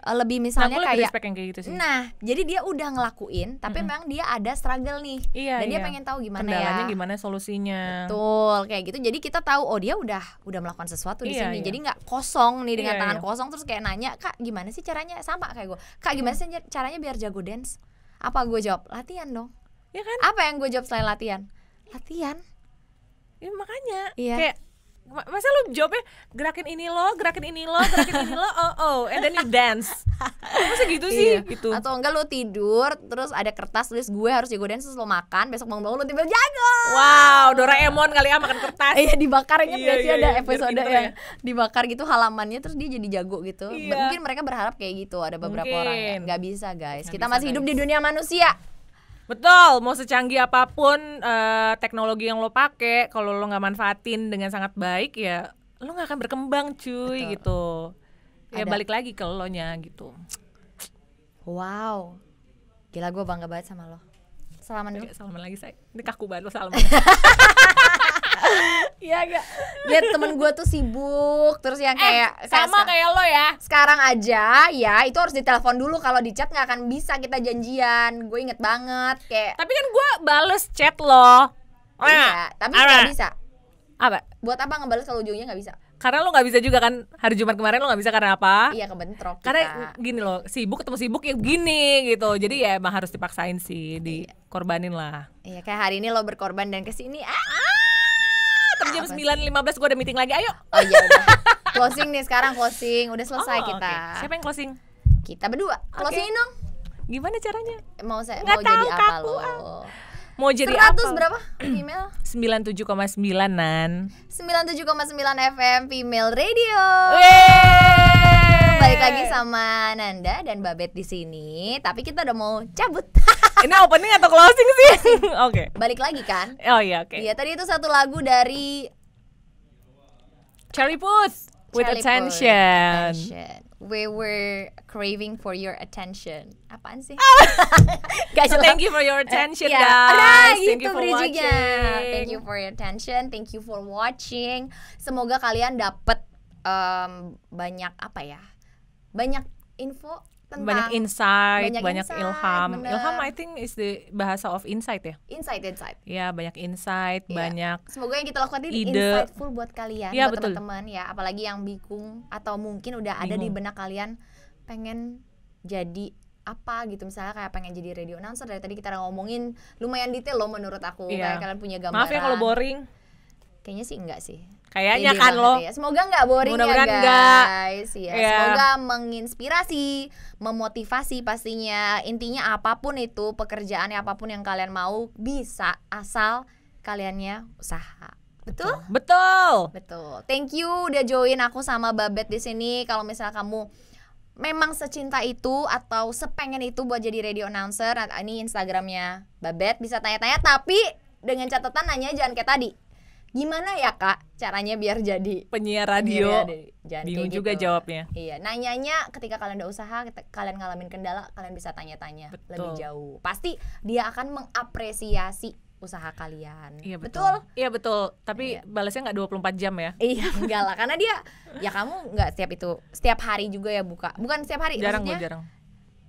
eh, lebih nah, misalnya gue lebih kayak respect yang kayak gitu sih Nah, jadi dia udah ngelakuin, tapi Mm-mm. memang dia ada struggle nih. Iya, dan dia iya. pengen tahu gimana kendalanya ya. gimana solusinya Betul, kayak gitu. Jadi kita tahu oh dia udah udah melakukan sesuatu di Iya, iya. sini. Jadi nggak kosong nih dengan Iya, tangan iya. kosong terus kayak nanya, "Kak, gimana sih caranya?" Sama kayak gue. "Kak, gimana Hmm. sih caranya biar jago dance?" Apa gue jawab? Latihan dong. ya kan Apa yang gue jawab selain latihan? Latihan. ya, makanya Iya. kayak ma- masa lu jawabnya gerakin ini lo gerakin ini lo gerakin ini lo oh oh and then you dance masa gitu sih Iya. gitu Atau enggak lu tidur terus ada kertas tulis gue harus jago dance terus lu makan, besok bangun-bangun lu tiba jago. wow Doraemon kali ya makan kertas Iya dibakar ingat Iya, nggak sih iya, ada iya, biar episode pinter yang dibakar gitu halamannya terus dia jadi jago gitu. Iya. Mungkin mereka berharap kayak gitu ada beberapa orang ya. Mungkin. Nggak bisa guys. Nggak Kita bisa, masih hidup di guys. dunia manusia. Betul, mau secanggih apapun eh, teknologi yang lo pakai, kalau lo nggak manfaatin dengan sangat baik ya lo nggak akan berkembang cuy Betul. gitu. Ya Ada. balik lagi ke lo nya gitu. Wow. Gila gue bangga banget sama lo. Selamat dulu. Oke, salaman lagi saya. Ini kaku banget lo salaman. Iya gak? Dia temen gue tuh sibuk terus yang kayak Eh, Sama kayak kayak lo ya. sekarang aja ya itu harus ditelepon dulu kalau di chat nggak akan bisa kita janjian. Gue inget banget kayak Tapi kan gue bales chat lo. Nah, Iya, tapi Apa? nggak bisa. Apa? Buat apa ngebales kalau ujungnya nggak bisa? Karena lo nggak bisa juga kan hari Jumat kemarin lo nggak bisa karena apa? Iya kebentrok. Ah. Karena kita. gini loh, sibuk ketemu sibuk ya gini gitu. Jadi ya emang harus dipaksain sih, dikorbanin lah. Iya kayak hari ini lo berkorban dan kesini ah, Tapi jam Apa sih? 9.15 gue ada meeting lagi, ayo Oh iya udah Closing nih sekarang closing Udah selesai Oh, kita oke. Siapa yang closing? Kita berdua Closingin dong Gimana caranya? Mau saya Nggak mau jadi tahu, apa kaku, lo ah. Mau jadi 100 apa? berapa female? 97,9 nan. 97,9 FM Female Radio Oh. Balik lagi sama Nanda dan Babet di sini, tapi kita udah mau cabut. Ini opening atau closing sih? Oke. Balik lagi kan? Oh iya, oke. Iya, tadi itu satu lagu dari Cherry Puth with Charlie Puth, attention. Attention. We were craving for your attention. Apaan sih? Ah. Gak So jelas. thank you for your attention Ya, guys. Nah, thank gitu you for bridging-nya. watching. Thank you for your attention, thank you for watching. Semoga kalian dapat em, banyak apa ya? Banyak info tentang Banyak insight, Banyak banyak, insight, ilham. bener. Ilham I think is the bahasa of insight ya. insight insight. Ya, banyak insight, Iya. banyak Semoga yang kita lakukan Ide. ini insightful buat kalian, Iya, buat betul. teman-teman ya, apalagi yang bingung atau mungkin udah ada di Bingung. benak kalian pengen jadi apa gitu misalnya kayak pengen jadi radio announcer dari tadi kita ngomongin lumayan detail loh menurut aku Iya. kayak kalian punya gambaran Maaf ya kalau boring. kayaknya sih enggak sih Kayaknya Pede kan banget lo. ya. Semoga nggak boring ya Mudah-mudahan guys. nggak. Iya, Iya. Semoga menginspirasi, memotivasi pastinya. Intinya apapun itu pekerjaan apapun yang kalian mau bisa asal kaliannya usaha. Betul? Betul. Betul. Thank you udah join aku sama Babet di sini. Kalau misalnya kamu memang secinta itu atau sepengen itu buat jadi radio announcer, nah, ini Instagramnya Babet bisa tanya-tanya tapi dengan catatan nanya jangan kayak tadi. Gimana ya kak caranya biar jadi penyiar Iya, radio deh. Jangan bingung kayak juga gitu. jawabnya Iya, nanyanya ketika kalian udah usaha, kita- kalian ngalamin kendala, kalian bisa tanya-tanya Betul. lebih jauh. Pasti dia akan mengapresiasi usaha kalian. iya betul iya betul tapi Iya. balasnya nggak 24 jam ya Iya, enggak lah karena dia ya kamu enggak setiap itu, setiap hari juga ya buka. Bukan setiap hari, jarang gue maksudnya jarang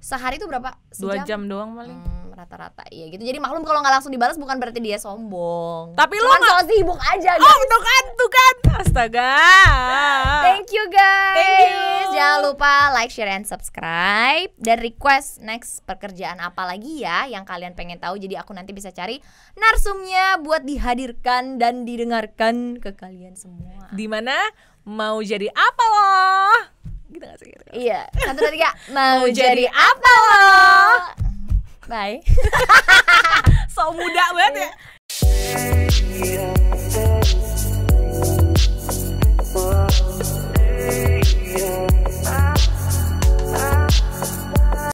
sehari itu berapa? dua jam Sejam? doang paling Hmm, rata-rata iya gitu. Jadi maklum kalau nggak langsung dibalas bukan berarti dia sombong. Tapi lu Cuman nggak- soal sibuk aja guys. oh tuh kan tuh kan astaga Thank you guys. Thank you. Jangan lupa like, share, and subscribe dan request next pekerjaan apa lagi ya yang kalian pengen tahu. Jadi aku nanti bisa cari narsumnya buat dihadirkan dan didengarkan ke kalian semua. di mana mau jadi apa loh gitu gak sih Iya. Satu dua tiga. Mau Mau jadi jadi apa lo? Bye. so muda banget ya